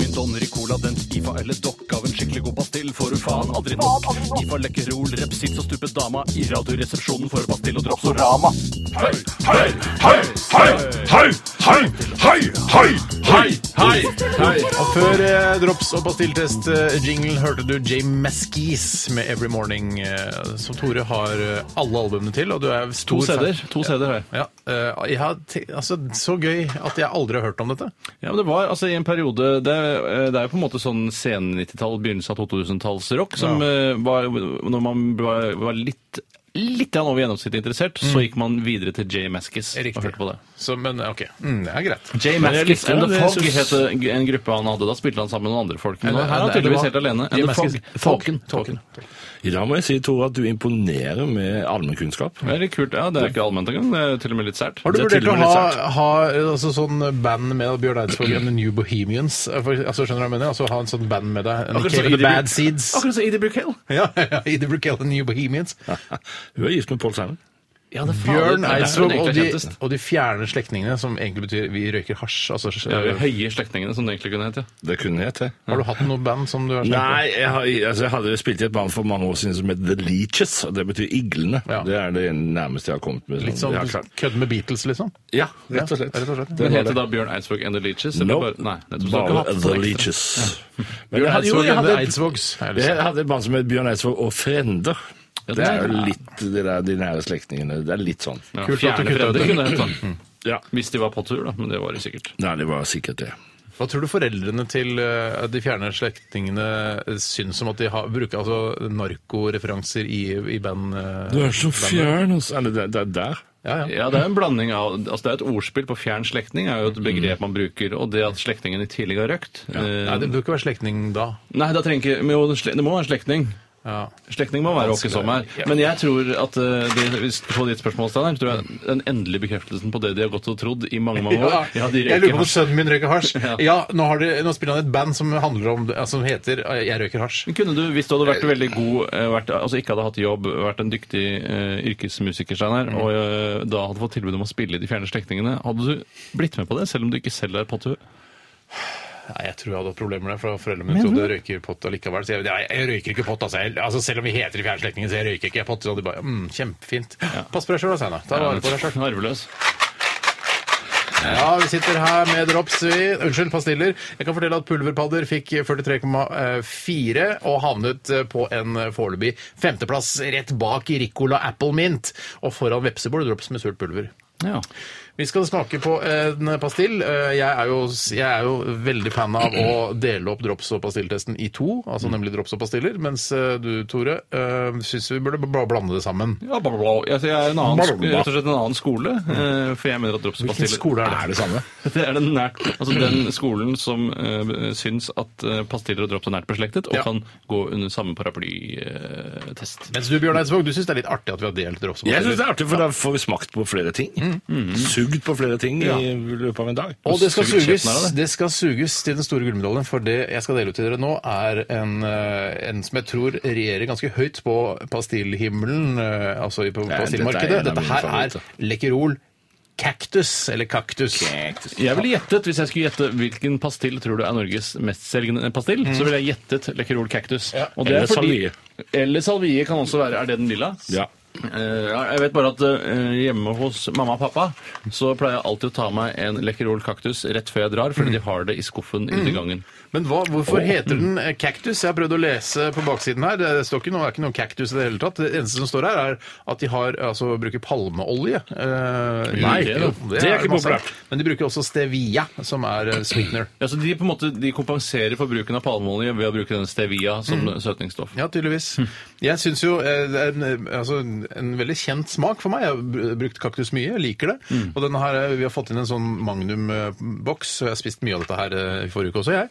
Min Donner i cola, den skifa eller dokk av en skikkelig god pastill får du faen aldri nok. Skifa lekkerol, repsits og stupet dama i radioresepsjonen for pastill og dropsorama. Hei, hei, hei, hei, hei, hei, hei, hei, hei. Hei! Hei! Og før eh, drops og pastilltest eh, jingle hørte du Jay Maskis med Every Morning, eh, som Tore har eh, alle albumene til. Og du er To stor CD-er. fan. To CD-er har jeg. Ja, eh, jeg har te- altså, så gøy at jeg aldri har hørt om dette. Ja, men det var altså i en periode Det, eh, det er jo på en måte sånn sen 90-tall, begynnelse av 2000-tallsrock, som eh, var Når man var, var litt Litt grann over gjennomsnittet interessert, Mm. så gikk man videre til Jay Maskis. og hørte på det. Så, men ok, mm, det er greit. Jay Men jeg Maskis likte and det, The jeg Fog synes- het en gruppe han hadde. Da spilte han sammen med noen andre folk. Men Eller- nå her er han eller- tydeligvis eller helt hva? alene. Jay And The Fog. Maskis- Folken. Folken. Folken. I dag må jeg si, Tore, at du imponerer med allmennkunnskap. Det er litt kult. Ja, det er ikke allment engang. Det er til og med litt sært. Har du Det er vurdert til å og med ha, litt ha altså, sånn band med Bjørn Eidsvåg and The New Bohemians? eh, For, altså, skjønner du hva jeg mener? Altså, ha en sånn band med deg. Akkurat som Nikki and Edie The Bad Bru- Seeds. Akkurat som Edie Bruckhale. Ja, ja, Ida Brickell and The New Bohemians. Hun er gift med Paul Simon. Ja, det er faen- Bjørn det er der hun Eidsvåg egentlig og, er de- kjentest. og de fjerne slektningene, som egentlig betyr vi røyker hasj. Altså, Det er jo Høye slektningene, som det egentlig kunne hete. Det kunne jeg til. har du hatt noe band som du har kjent på? Nei, jeg, har, altså, jeg hadde spilt i et band for mange år siden som het The Leeches, og det betyr iglene. Ja. Det er det nærmeste jeg har kommet med. Litt sånn jeg har du klart. kødder med Beatles, liksom? Ja, rett og slett. Ja, rett og slett. Det Men var det. heter da Bjørn Eidsvåg and the Leeches? eller Nope. bare- Nei, nettopp. Så dere har Bare hatt The noen ekstra. Leeches. Men jeg Bjørn hadde- jo, Eidsvåg jeg eller hadde- Eidsvågs? er det Jeg sånn? hadde et band som het Bjørn Eidsvåg og Frender. Ja, Det er det er- jo litt det der, de nære slektningene. Det er litt sånn. Ja, Kult at du Fjerne kutta ut Fredrik det. kunne det hete. Ja. Hvis de var på tur, da. Men det var de sikkert. Nei, det var sikkert det. Hva tror du foreldrene til eh, de fjerne slektningene eh, syns om at de har, bruker altså, narkoreferanser i, i band? eh, bandet? altså. Eller det, det er der. Ja, ja. Ja, det er en blanding av Altså, det er et ordspill på fjern slektning, er jo et begrep man bruker. Og det at slektningen i tidligere har røkt eh, Nei, det bør ikke være slektning da. Nei, da trenger ikke men jo, det sle- Det må være en slektning. Ja. Slektning må være åkke som her. Men jeg tror at eh, det, hvis på ditt spørsmål, Steinar, tror jeg den endelige bekreftelsen på det de har gått og trodd i mange, mange år Ja, de jeg lurer røyker på om hasj. sønnen min røyker hasj. Ja. Ja, nå, har de, nå spiller han et band som, handler om, altså, som heter eh, 'Jeg røyker hasj'. Men Kunne du, hvis du hadde vært veldig god, eh, vært, altså ikke hadde hatt jobb, vært en dyktig eh, yrkesmusiker, Mm. Steinar, og eh, da hadde fått tilbud om å spille i De fjerne slektningene, hadde du blitt med på det, selv om du ikke selv er pottehue? Nei, jeg tror jeg hadde hatt problemer der, for foreldrene mine trodde jeg røyker pott allikevel. Så jeg, nei, jeg røyker ikke pott, altså. Jeg, altså. Selv om vi heter de fjerne slektningene, så jeg røyker ikke pott. Så de bare, mm, kjempefint. Pass på deg sjøl, da, Steinar. Ta vare på deg sjøl. Arveløs. Ja, vi sitter her med drops, vi. Unnskyld, pastiller. Jeg kan fortelle at pulverpadder fikk 43,4 og havnet eh, på en foreløpig femteplass rett bak Ricola Apple Mint. Og foran vepsebol drops med surt pulver. Ja. Vi skal smake på en pastill. Eh, Jeg er jo, jeg er jo veldig fan av å dele opp drops- og pastilltesten i to, altså nemlig drops og pastiller, mens eh, du, Tore, syns vi burde bare blande det sammen. Ja, bla, bla, bla. Altså, jeg er en annen, sk- Bla, bla. rett og slett en annen skole, eh, for jeg mener at dropspastiller er det samme? Det er den, nært, altså den skolen som eh, syns at eh, pastiller og drops er nært beslektet, og Ja. kan gå under samme eh, paraplytest. Mens du, Bjørn Eidsvåg, du syns det er litt artig at vi har delt drops og Jeg pastiller? syns det er artig, for da får vi smakt på flere ting. Sugd på flere ting i løpet av en dag. Og det skal, Suger suges, kjeften av deg, det skal suges til den store gullmedaljen, for det jeg skal dele ut til dere nå, er en, eh, en som jeg tror regjerer ganske høyt på pastillhimmelen, eh, altså i- på Ja, pastillmarkedet. dette er en av Dette her mine er Lekkerol Cactus, eller Kaktus. Jeg ville gjettet, Hvis jeg skulle gjette hvilken pastill tror du er Norges mestselgende pastill, så ville jeg gjettet Lekkerol cactus. Mm. Ja. Og det er Eller salvie. Eller salvie kan også være. Er det den lilla? Ja. Eh, ja, jeg vet bare at eh, hjemme hos mamma og pappa så pleier jeg alltid å ta meg en Lekkerol kaktus rett før jeg drar, fordi de har det i skuffen Mm. ute i gangen. Men hva, hvorfor heter den eh, kaktus? Jeg har prøvd å lese på baksiden her. Det står ikke noe, er ikke noen kaktus i det hele tatt. Det eneste som står her, er at de har, altså, bruker palmeolje. Eh, Nei, jo, det er ikke masse. populært. Men de bruker også stevia, som er eh, sweetener. Ja, så De på en måte, de kompenserer for bruken av palmeolje ved å bruke denne stevia som søtningsstoff. Mm. Ja, tydeligvis. Jeg syns jo eh, det er en, eh, altså, en- en veldig kjent smak for meg. Jeg har br- brukt kaktus mye, jeg liker det. Mm. Og denne her, eh, vi har fått inn en sånn Magnum-boks, og jeg har spist mye av dette her eh, i forrige uke også, jeg.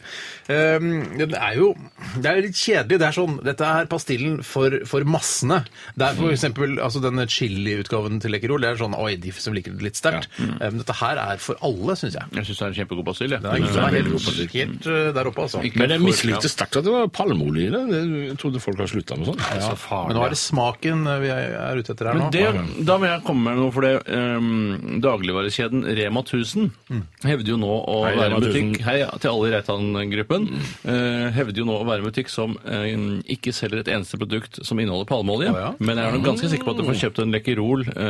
Ehm, Den er jo Det er litt kjedelig. Det er sånn Dette er pastillen for, for massene. Det er Mm. for eksempel altså, denne chiliutgaven til Lekkerol. Det er sånn Oi, de som liker det litt sterkt. Mm. Eh, men Dette her er for alle, syns jeg. Jeg syns det er en kjempegod basil. jeg. Den er, den er Men- helt, helt eh, der oppe, altså. Men jeg mislikte sterkt at det var palmeolje i det. Det- Jeg trodde folk hadde slutta med sånt. Altså, Så farlig. Men nå er det smaken eh, vi er, er ute etter her nå. Men det, da må jeg komme med noe, for det ehm, dagligvarekjeden Rema 1000 Mm. hevder jo nå å Hei, være Rema en butikk 1000. Hei ja, til alle i Reitan-gruppen. Mm. eh, hevder jo nå å være en butikk som eh, ikke selger et eneste produkt som inneholder palmeolje. ja. Mm. Men jeg er nok ganske sikker på at du får kjøpt en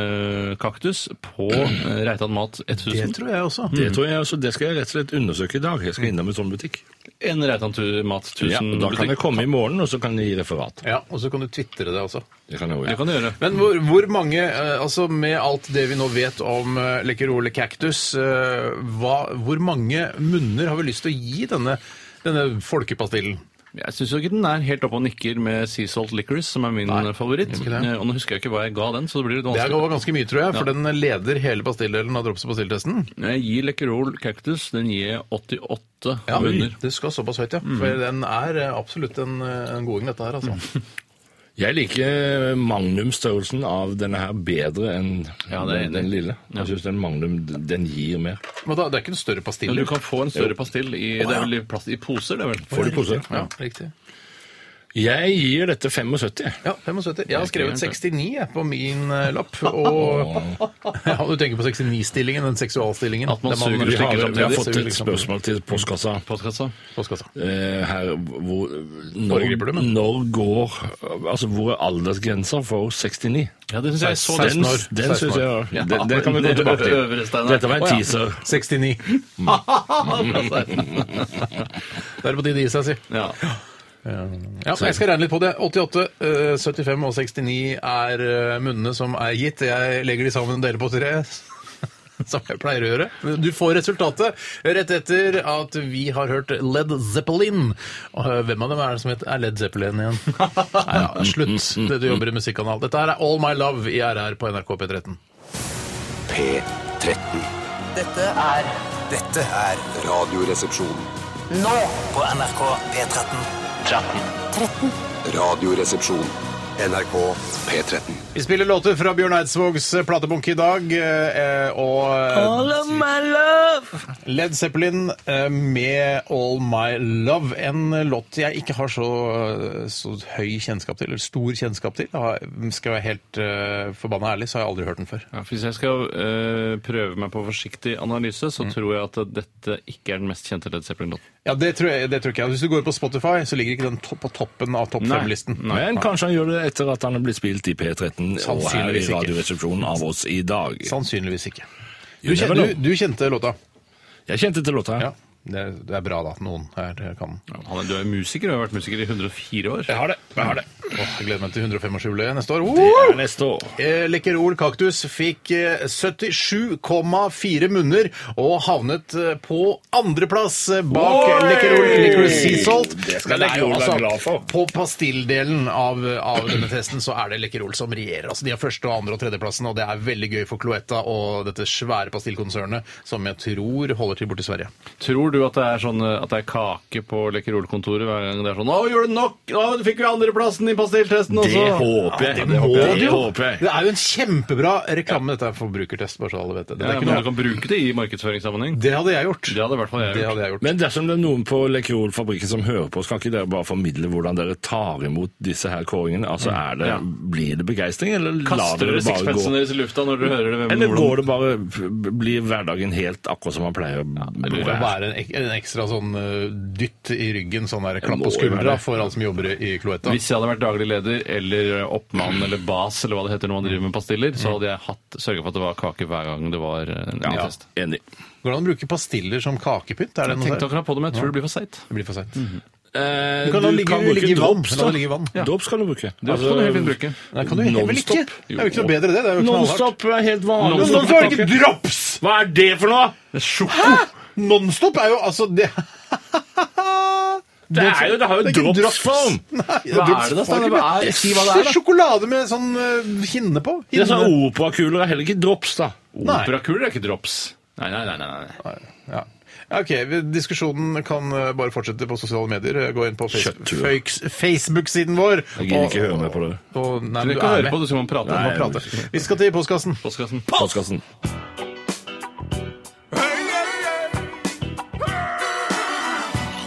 Lekkerol-kaktus på eh, Reitan Mat 1000. det tror jeg også. Det tror jeg også, det skal jeg rett og slett undersøke i dag. Jeg skal innom en sånn butikk. En Reitan tu- Mat Ja, 1000-butikk. da kan jeg komme i morgen, og så kan jeg gi referat. Ja, og så kan du twittre det også. Det kan jeg også Det gjøre. kan du gjøre. Men hvor, hvor mange, eh, altså med alt det vi nå vet om eh, Lekkerol cactus, eh, hva, hvor mange munner har vi lyst til å gi denne, denne folkepastillen? Jeg syns ikke den er helt oppe og nikker med Sea Salt Licorice, som er min favoritt. ikke det. Eh, Og nå husker jeg ikke hva jeg ga den, så det blir litt Det vanskelig. er var ganske mye, tror jeg, for den eh, leder hele pastilldelen av drops- og pastilltesten. Når jeg gir Lekkerol Cactus, den gir jeg 88 under. Mm. det skal såpass høyt, Mm. ja. For den er eh, absolutt en, eh, en goding, dette her, Mm. altså. Jeg liker eh, magnumstørrelsen av denne her bedre enn Ja, det er den, enig. den lille. Jeg syns den magnum, den gir mer. Men da, det er ikke en større Men du pastille. kan få en større pastill i, det er vel i, plast, i poser, det er vel? Får du pose? Ja, riktig. Jeg gir dette 75. Ja, 75. Jeg har skrevet 69 jeg, på min eh, lapp. Og ja, du tenker på 69-stillingen, den seksualstillingen. At man der suger Vi og har, slikker vi har samtidig, fått liksom et spørsmål til postkassa. Postkassa. Postkassa. eh, her, hvor, når, Foregriper du, men? når går Altså, hvor er aldersgrensa for 69? Ja, det syns jeg så Den, den. år. den 16 syns år. jeg Ja, den, den kan vi gå det tilbake øvre, til. Steinar. Dette var en Å, ja. teaser. 69. Mm. Da er det på tide å gi seg, si. Ja. Ja, jeg skal regne litt på det. 88, eh, 75 og 69 er eh, munnene som er gitt. Jeg legger de sammen og deler på tre. som jeg pleier å gjøre. Du får resultatet rett etter at vi har hørt Led Zeppelin. Og eh, hvem av dem er det som heter er Led Zeppelin igjen? Nei, ja, Mm, slutt det du jobber i musikkanal. Dette her er All My Love i RR på NRK P13. P13. Dette er Dette er Radioresepsjon. nå på NRK P13. Radioresepsjon. NRK P13. Vi spiller låter fra Bjørn Eidsvågs platebunke i dag, eh, og All of my love. Led Zeppelin eh, med All My Love. En låt jeg ikke har så, eh, så høy kjennskap til, eller stor kjennskap til. Jeg har- Skal jeg være helt eh, forbanna ærlig, så har jeg aldri hørt den før. Ja, for hvis jeg skal eh, prøve meg på forsiktig analyse, så Mm. tror jeg at dette ikke er den mest kjente Led Zeppelin-låten. Ja, Det tror jeg, det tror ikke jeg. Hvis du går på Spotify, så ligger ikke den to på toppen av topp fem-listen. Men kanskje han gjør det etter at han har blitt spilt i P13 og her i Sannsynligvis ikke. Radioresepsjonen av oss i dag. Sannsynligvis ikke. Du, You never kjen, know. du, du kjente låta? Jeg kjente til låta. Ja. Det, det er bra da at noen her kan den. Ja, Han er, du er jo musiker og har vært musiker i 104 år. Mm. Jeg har det. Jeg har det. Åh, jeg gleder meg til 105-årsjubileet neste år. Det Woo! er neste år. Eh, Lekkerol Kaktus fikk eh, 77,4 munner og havnet eh, på andreplass eh, bak Oi! Lekkerol Licorice Sea Salt. Det skal Men er jo altså, Läkerol være glad for. På pastilldelen av, av denne testen så er det Lekkerol som regjerer. Altså, de har første, og andre og tredjeplassen, og det er veldig gøy for Cloetta og dette svære pastillkonsernet som jeg tror holder til borti Sverige. Tror du at det er, sånn, eh, at det er kake på Lekkerol-kontoret hver gang det er sånn 'Å, gjorde du nok? Å, du fikk jo andreplassen i pastilltesten også!' Det håper jeg. Ja, det håper jeg. Det jo. håper jeg. Det er jo en kjempebra reklame, dette er forbrukertest, bare så alle vet det. Det, er Ja, ikke men du noe. kan bruke det i markedsføringssammenheng. det hadde jeg gjort. Det hadde i hvert fall jeg Det gjort. hadde jeg gjort. Men dersom det er noen på Lekrolfabrikken som hører på, skal ikke dere bare formidle hvordan dere tar imot disse her kåringene? Altså, er det, Ja. Blir det begeistring, eller lar Kaster dere dere det bare sixpensen gå? deres i lufta når dere hører det? hvem- Eller hvordan- går det bare, blir hverdagen helt akkurat som man pleier å Det må være en, ek- en ekstra sånn eh, dytt i ryggen, sånn der klapp må på jo være skuldra det. for alle som jobber i Cloetta. Hvis jeg hadde vært daglig leder eller oppmann eller bas eller hva det heter når man driver med pastiller, så hadde jeg hatt sørga for at det var kake hver gang det var eh, en ny Ja, test. enig. Går det an å bruke pastiller som kakepynt? Er det Jeg noe tenkte der? akkurat på det, men jeg tror det blir for seigt. Det blir for seint. Eh, Du kan la ligge- ligge i vann. La det ligge i vann. Ja. Drops kan du Altså, bruke. Det kan Altså, du helt fint bruke. Nei, kan du heller ikke? Nonstop. Det er jo ikke noe bedre, det. Det er jo knallhardt. Nonstop er helt vanlig. Nonstop. Nonstop er det ikke drops! Hva er det for noe?! Hæ?! Nonstop er jo altså det Det, er jo, det har jo Det er ikke drops-form! Nei, Hva er det da, Steiner? Hva er- si hva det er, da. Sjokolade med sånn eh, hinne på. Det er sånn Hinne. Operakuler er heller ikke drops, da. Nei. Operakuler er ikke drops. Nei, nei, nei. nei, nei. Ja. Ja, Ok, vi- Diskusjonen kan eh, bare fortsette på sosiale medier. Gå inn på face Kjøtthue. Fakes- Facebook-siden vår. Jeg gidder og- ikke høre meg på det. og- nei, Du men kan du ikke er høre på med. det, så man Du prater. må Nei, prate. Vi skal til postkassen. postkassen. Postkassen.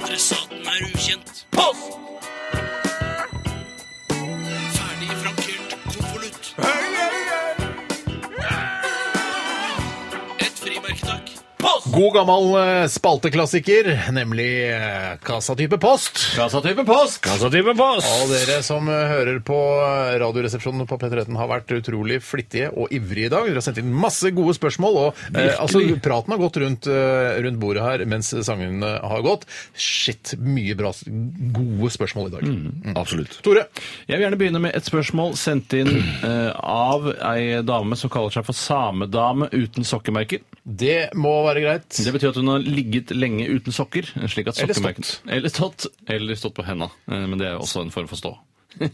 Adressaten er ukjent. Post! Ferdig frankert konvolutt. Et frimerke, takk. God gammel eh, spalteklassiker, nemlig eh, kassatype post. Kassatype post! Kassatype Og post! dere som eh, hører på eh, Radioresepsjonen på P13 har vært utrolig flittige og ivrige i dag. Dere har sendt inn masse gode spørsmål, og eh, altså, praten har gått rundt, eh, rundt bordet her mens sangene har gått. Shit, mye bra, gode spørsmål i dag. Absolutt. Tore, Jeg vil gjerne begynne med et spørsmål sendt inn eh, av ei dame som kaller seg for samedame uten sokkemerker. det må være greit. Det betyr at hun har ligget lenge uten sokker. slik at Eller sokkemerken- Eller stått. Eller stått på henda. Eh, Men det er jo også en form for stå. Ja,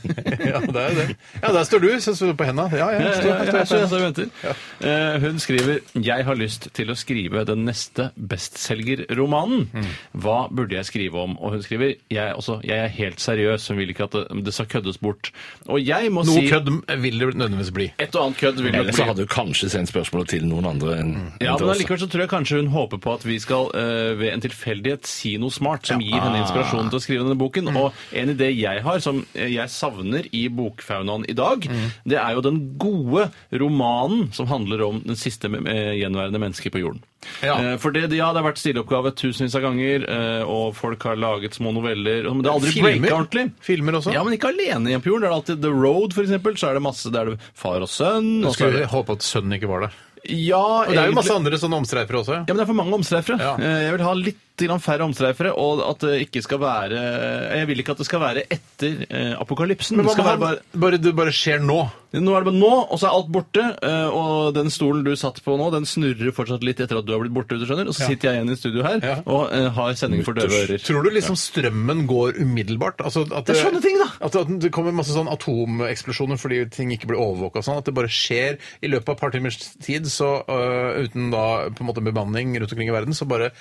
det er jo det. Ja, der står du så står du på henda. Ja, ja, står, Eh, Jeg står, står- jeg står, står og venter. Eh, Hun skriver Jeg har lyst til å skrive den neste bestselgerromanen. Mm. Hva burde jeg skrive om? Og hun skriver Jeg er, også, jeg er helt seriøs. Hun vil ikke at det, det skal køddes bort. Og jeg må Noe si kødd vil det nødvendigvis bli. Et og annet kødd vil nok Ellers bli- så hadde du kanskje sendt spørsmålet til noen andre enn Ja, enn til men oss. allikevel så tror jeg kanskje hun håper på at vi skal eh, ved en tilfeldighet si noe smart som gir henne inspirasjon til å skrive denne Mm. boken. Og en idé jeg har, som eh, jeg savner i bokfaunaen i dag, Mm. det er jo den gode romanen som handler om den siste eh, gjenværende mennesket på jorden. Ja. Eh, for det, ja, det har vært stiloppgave tusenvis av ganger, eh, og folk har laget små noveller, men det har aldri Filmer. breaka ordentlig. Filmer også. Ja, men ikke alene hjemme på jorden. Det er alltid The Road, for eksempel. Så er det masse, det er det far og sønn. og så er Skulle det- håpe at sønnen ikke var der. Ja, Og det er jo egentlig- masse andre sånne omstreifere også. ja, men det er for mange omstreifere. Ja. Eh, Jeg vil ha litt grann færre omstreifere, og at det ikke skal være Jeg vil ikke at det skal være etter eh, apokalypsen. Men det hva med skal være han? bare Bare, det bare skjer nå. Nå er det bare nå, og så er alt borte. eh, Og den stolen du satt på nå, den snurrer fortsatt litt etter at du har blitt borte. hvis du skjønner. Og så sitter jeg igjen i studio her Ja. og eh, har sending for døve ører. Tror du liksom strømmen går umiddelbart? Altså at Det er sånne ting, da! At at det kommer masse sånn atomeksplosjoner fordi ting ikke blir overvåka og sånn. At det bare skjer i løpet av et par timers tid, så øh, uten da på en måte bemanning rundt omkring i verden, så bare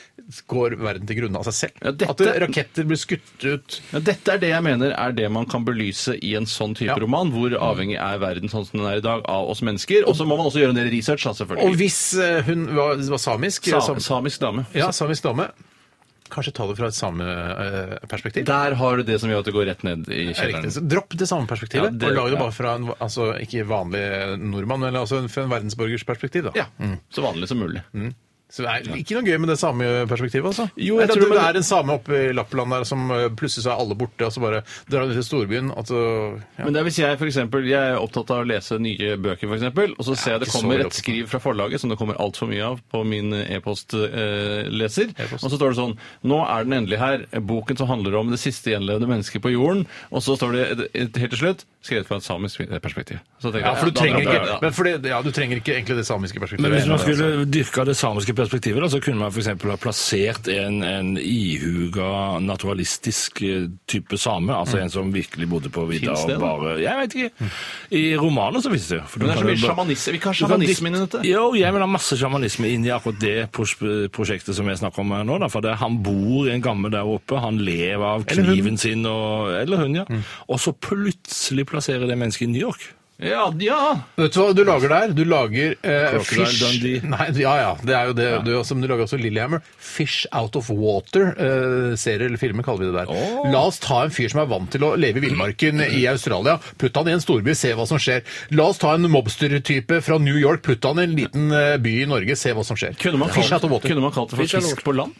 går verden til grunne av seg selv. Ja, dette- At det, raketter blir skutt ut Ja, dette er det jeg mener er det man kan belyse i en sånn type Ja. Mm. roman, hvor avhengig er verden sånn som den er i dag av oss mennesker. Og så må man også gjøre en del research, da, Og selvfølgelig. hvis øh, hun var, var samisk Sa sam- samisk dame. Ja, samisk dame. Kanskje ta det fra et sameperspektiv. Der har du det som gjør at det går rett ned i kjelleren. Riktig. Så Dropp det sameperspektivet, Ja, det- og lag det ja. bare fra en altså, ikke vanlig nordmann, men altså en- fra en verdensborgers perspektiv. da. Ja, Så vanlig som mulig. Så det er ikke noe gøy med det sameperspektivet, altså. Jo, Eller jeg at tror det, man- er en same oppe i Lappland der som eh, plutselig så er alle borte, og så bare drar de til storbyen. Altså, ja. Men det er hvis jeg for eksempel, jeg er opptatt av å lese nye bøker, for eksempel, og så ser jeg det ikke så kommer veldig et opptatt. skriv fra forlaget som det kommer altfor mye av på min e-postleser. og så står det sånn Nå er den endelig her. Boken som handler om det siste gjenlevende mennesket på jorden. Og så står det et- et- helt til slutt skrevet fra et samisk perspektiv. Så tenker ja, for du jeg, da trenger dropper jeg ikke, det. men fordi, ja, du trenger ikke egentlig det samiske perspektivet. Men hvis man Altså. skulle dyrka det samiske perspektivet, da, så kunne man f.eks. ha plassert en, en ihuga naturalistisk eh, type same, altså en som virkelig bodde på vidda Mm. Finnes det, og da? bare Jeg vet ikke. I romaner så finnes det jo. for du Men det er så kan jo mye bare- sjamanisme. Vi kan Du ha kan sjamanisme dikt- inn i dette. Jo, jeg vil ha masse sjamanisme inn i akkurat det pros- prosjektet som jeg snakker om her nå. Da, for det, han bor i en gammel der oppe, han lever av kniven sin og Eller hun, ja. Mm. Og så plutselig plasserer det mennesket i New York. Ja, ja! Vet du hva du lager der? Du lager eh, Crocodile fish Dundee. Nei, ja, ja, det er jo det. Du, også, men du lager også Lillehammer. Fish Out of Water. Eh, serier eller filmer kaller vi det der. La oss ta en fyr som er vant til å leve i villmarken i Australia. Putt han i en storby, se hva som skjer. La oss ta en mobstertype fra New York. Putt han i en liten eh, by i Norge, se hva som skjer. Kunne man, fish kalt, out of water. kunne man kalt det for Fish out of fisk på land?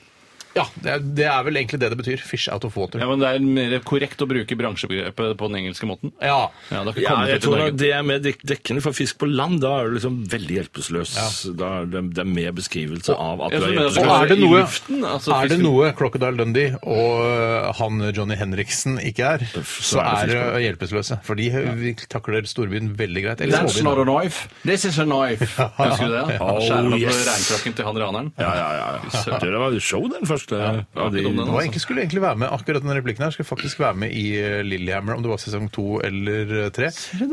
Ja, det er, det er vel egentlig det det betyr. Fish Out of Water. Ja, men Det er mer korrekt å bruke bransjebegrepet på den engelske måten. Ja. Ja, det har ikke Ja, kommet jeg ut i tror Norge. nok det er mer dek- dekkende for fisk på land. Da er du liksom veldig hjelpeløs. Da er det, det er mer beskrivelse av at Jeg du er tror det Og hjelpeløs. er- er det I noe, luften, altså, er det fisken- noe Crocodile Dundee og eh, han Johnny Henriksen ikke er, så er er det det hjelpeløse. For de vi takler storbyen veldig greit. Eller That's not a småbyen. knife. This is a knife. Husker du det? Oh, Skjærer opp yes. reinkrakken til han raneren. Ja, ja, ja. ja. Det var jo show, den første. var av de- ikke dum, den, Og jeg egentlig skulle egentlig være med akkurat denne replikken her, skulle faktisk være med i eh, Lillehammer, om det var sesong to eller eh, tre.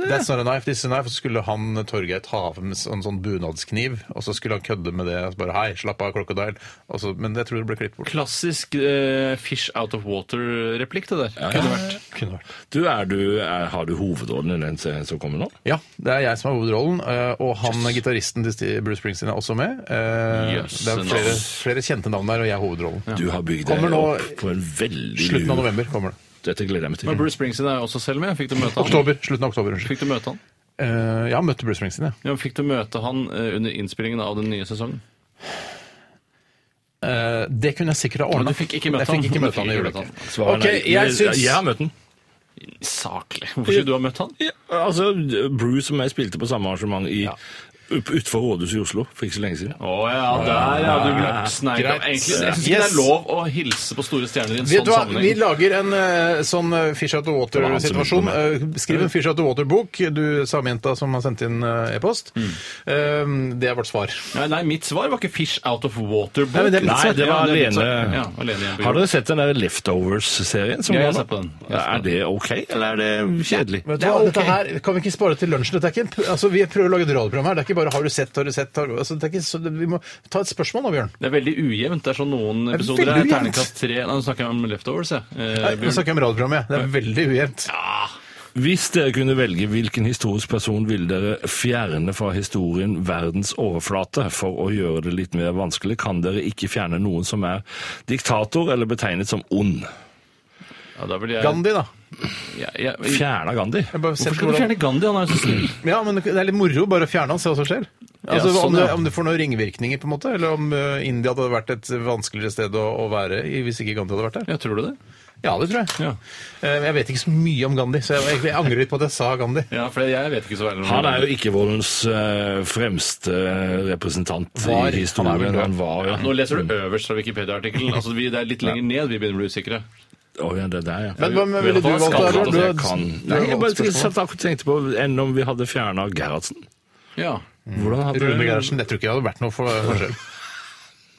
That's not a knife, this is a knife. Og så skulle han eh, Torgeir ta av en sånn, sånn bunadskniv, og så skulle han kødde med det. Og så bare hei, slapp av, Crocodile. Og så- Men jeg tror det ble klippet bort. Klassisk eh, fish out of water-replikk, det der. Kunne vært. Kunne vært. du, er du, er, har du hovedrollen i den serien som kommer nå? Ja, det er jeg som har hovedrollen. eh, Og han gitaristen til Sti- Bruce Springsteen er også med. Eh, Jøss, Det er flere, flere kjente navn der, og jeg er hovedrollen. Du har bygd Kommer deg nå opp på en veldig Slutten av lur- november kommer det. Dette gleder jeg meg til. Men Bruce Springsteen er jo også selv med. Fikk du møte han? Oktober, slutten av oktober, unnskyld. Fikk du møte han? Eh, ja, møtte Bruce Springsteen, jeg. Ja, men fikk du møte han eh, under innspillingen av den nye sesongen? Eh, det kunne jeg sikkert ha Men ordna. du fikk ikke møte jeg fikk han. ikke møte han. Sånn Jeg gjorde det Du fikk ikke møte ikke. Svaret er Ok, nei. jeg syns- Jeg har møtt den. Saklig. Hvorfor skulle du ha møtt han? Ja, altså, Bruce som jeg spilte på samme arrangement i, ut- utenfor rådhuset i Oslo for ikke så lenge siden. Å ja, der ja, du gløpsneik. Greit. Egentlig, jeg syns ikke det Yes. er lov å hilse på store stjerner i en Vet sånn du hva, vi sammenheng. lager en eh, sånn eh, Fish Out of Det var han som Water-situasjon. begynte Eh, skriv en Fish Out of Water-bok, du samejenta som har sendt inn eh, e-post. Eh, det er vårt svar. Nei, nei, mitt svar var ikke 'Fish Out of Water'. Nei, men det er mitt Nei, svar. det var Ja, det er litt alene. sånn- ja, alene igjen på har jorden. dere sett den der Leftovers-serien? som Ja, jeg går nå? har sett på den. Jeg Er har sett det ok, eller er det kjedelig? Vet du Det er hva, dette ok. her kan vi ikke spare til lunsjen. Dette er ikke, en- altså, vi prøver å lage et radioprogram her. Det er ikke bare 'har du sett', 'har du sett'. Har, du- altså, det er ikke, så, vi må ta et spørsmål nå, Bjørn. Det er veldig ujevnt. Det er sånn noen er episoder veldig er ujevnt. altså, terningkast tre Nei, nå snakker jeg om leftovers, jeg. Eh, Nå snakker jeg om radioprogrammet. jeg. Det er veldig ujevnt. Hvis dere kunne velge hvilken historisk person ville dere fjerne fra historien verdens overflate for å gjøre det litt mer vanskelig, kan dere ikke fjerne noen som er diktator eller betegnet som ond. ja, da vil jeg, Gandhi, da. jeg, jeg, Fjerna Gandhi. Jeg bare Hvorfor setter skal du hvordan- fjerne Gandhi? Han er jo så snill. Ja, men Det er litt moro bare å fjerne han, se hva som skjer. Altså, Ja, sånn, om, det, ja. om det får noen ringvirkninger, på en måte, eller om eh, India hadde vært et vanskeligere sted å, å være i hvis ikke Gandhi hadde vært der. Ja, tror du det? Ja, det tror jeg. Ja. Eh, Jeg vet ikke så mye om Gandhi, så jeg, jeg angrer litt på at jeg sa Gandhi. Ja, for jeg vet ikke så veldig Han er jo ikke voldens eh, fremste eh, representant Var. i Han historien. er vel død. Han var, ja. Mm. Nå leser du øverst fra Wikipedia-artikkelen. Altså, vi- det er litt lenger ned vi begynner å bli usikre. Å ja, det er der, ja. Men hva- men ville du Skal valgt, du Arild? at Du jeg har- kan du Nei, har jeg valgt bare spørsmål. satt akkurat og tenkte på enn om vi hadde fjerna Gerhardsen. Ja. Mm. Hvordan hadde Rune Gerhardsen, jeg tror ikke det hadde vært noe for forskjell.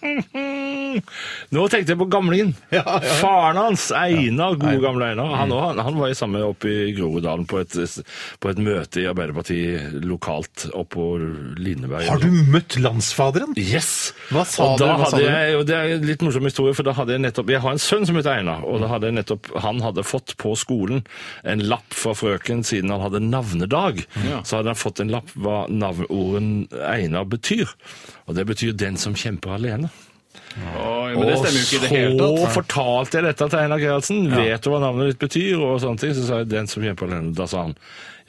Nå tenkte jeg på gamlingen. Ja, ja. Mm. Faren hans, Einar, gode gamle Einar, han, også, han, han var jo sammen oppe i Groruddalen på et, på et møte i Arbeiderpartiet lokalt oppå Lineberg. Har du møtt landsfaderen? Yes! Hva sa og da du? Hva sa hadde du? jeg, og det er en litt morsom historie, for da hadde jeg nettopp Jeg har en sønn som heter Einar, og da hadde jeg nettopp Han hadde fått på skolen en lapp fra frøken siden han hadde navnedag. Ja. Så hadde han fått en lapp hva navneorden Einar betyr. Og det betyr 'den som kjemper alene'. Oi, men det stemmer jo ikke i det hele Og så tatt. fortalte jeg dette til Einar Gerhardsen. Vet du hva navnet ditt betyr? Og sånne ting. Så sa jeg 'den som kjemper alene'. Da sa han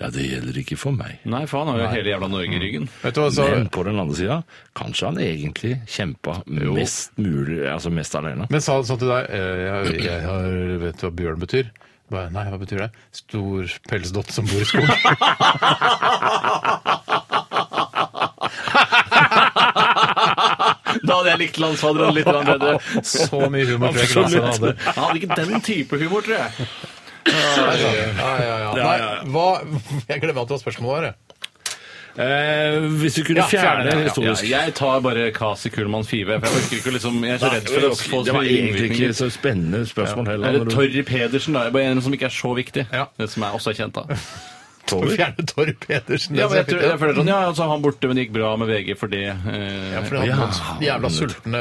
'ja, det gjelder ikke for meg'. Nei, for han har jo hele jævla Norge i ryggen. Vet du hva, så... Men på den andre sida, kanskje han egentlig kjempa mest mulig, altså mest alene. Men sa han sånn til deg eh, jeg, jeg har, Vet du hva bjørn betyr? Bare, Nei, hva betyr det? Stor pelsdott som bor i skog. Da hadde jeg likt landsfaderen litt grann bedre. Så mye humor tror jeg ikke Lasse hadde. Han hadde ikke den type humor, tror jeg. Ja, ja, ja. Ja, ja, ja. Nei, hva Jeg glemmer at det var spørsmålet her. jeg. Eh, hvis du kunne fjerne det Ja, historisk. jeg tar bare Kasi Kullmann Five. For jeg orker ikke å liksom, jeg er så redd for å få det så var mye egentlig ikke ringvirkninger. så spennende spørsmål heller. Eller når du- Torry Pedersen, da. Jeg bare en som ikke er så viktig. Ja. Det som jeg også er kjent av. Å Fjerne Torr Pedersen. det Ja, men jeg ser tror, fint ut. jeg føler sånn, ja, altså, Han borte, men det gikk bra med VG for det. eh, Ja, for det Ja. hadde noen jævla sultne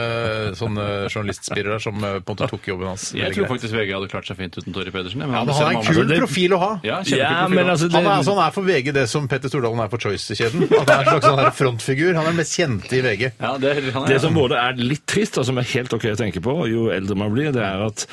sånne journalistspirer der som eh, på en måte tok jobben hans. jeg Veldig tror greit. faktisk VG hadde klart seg fint uten Torry Pedersen. ja, Ja, men hadde han er sett en mange- kul det- profil å ha. Ja, kjempekul ja, profil, men da. altså, Han er, altså, det, han er for VG det som Petter Stordalen er for Choice-kjeden. At han er en slags sånn her frontfigur. Han er den mest kjente i VG. ja, det, er- han er, det som både er litt trist, og som er helt ok å tenke på jo eldre man blir, det er at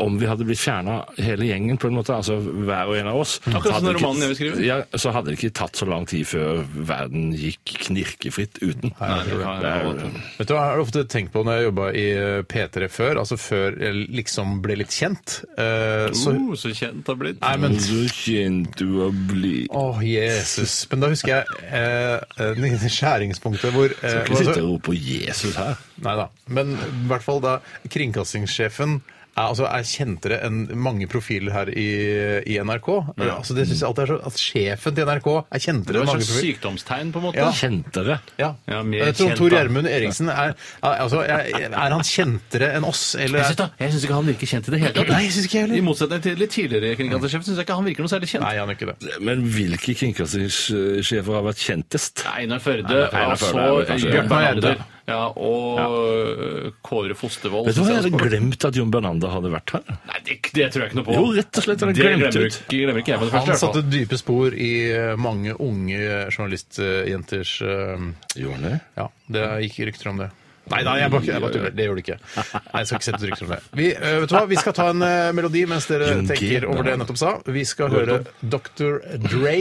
om vi hadde blitt fjerna hele gjengen, på en måte, altså hver og en av oss Akkurat som hadde den ikke- romanen jeg vil skrive. Ja, så hadde det ikke tatt så lang tid før verden gikk knirkefritt uten. Nei, det kan jeg Det er- godt. Vet du hva, Jeg har ofte tenkt på når jeg jobba i eh, P3 før, altså før jeg liksom ble litt kjent. eh, så, Uh, så kjent det har blitt. nei, men Så kjent du å bli Å, Jesus. Men da husker jeg eh, eh, skjæringspunktet hvor eh, Skal ikke sitte altså, og rope 'Jesus' her. Nei da. Men i hvert fall da kringkastingssjefen er, altså, er kjentere enn mange profiler her i, i NRK. Altså, det synes jeg alltid er så, At sjefen til NRK er Det kjentere var enn mange et slags profiler. sykdomstegn, på en måte. Ja. Kjentere. Ja. Ja, mer Jeg tror kjent, Tor da. Gjermund Eriksen er, er- altså, er, er han kjentere enn oss, eller Jeg er, synes, da, jeg synes ikke han virker kjent i det hele tatt. Nei, jeg synes ikke jeg heller. I motsetning til litt tidligere kringkastersjef syns jeg ikke han virker noe særlig kjent. Nei, han er ikke det. Men hvilke kringkastingssjefer har vært kjentest? Einar Førde, Einar Førde og er vel så kanskje- Bjørn Bernander. Bernander. Ja, og øh, Kåre Fostervold. Vet du hva, Jeg synes jeg hadde også- glemt at Jon Bernander hadde vært her. Nei, det, det tror jeg ikke noe på. Jo, rett og slett er det Det glemt glemmer, ut. ikke- glemmer ikke jeg på det Han første. i hvert fall. satte dype spor i eh, mange unge eh, journalistjenters eh, Gjorde han det? Ja, det gikk rykter om det. Nei da, jeg bare jeg bare tuller. Det gjør det ikke. Nei, jeg skal ikke sette rykter om det. Vi, eh, vet du hva? vi skal ta en eh, melodi mens dere Jung tenker G, over det jeg da. nettopp sa. Vi skal høre Dr. Dre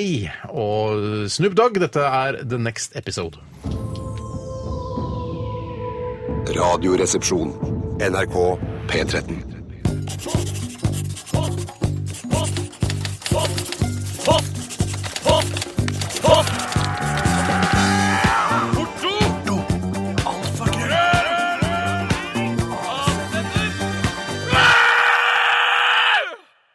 og Snoop Dogg. Dette er The Next Episode. Radioresepsjon. NRK P13.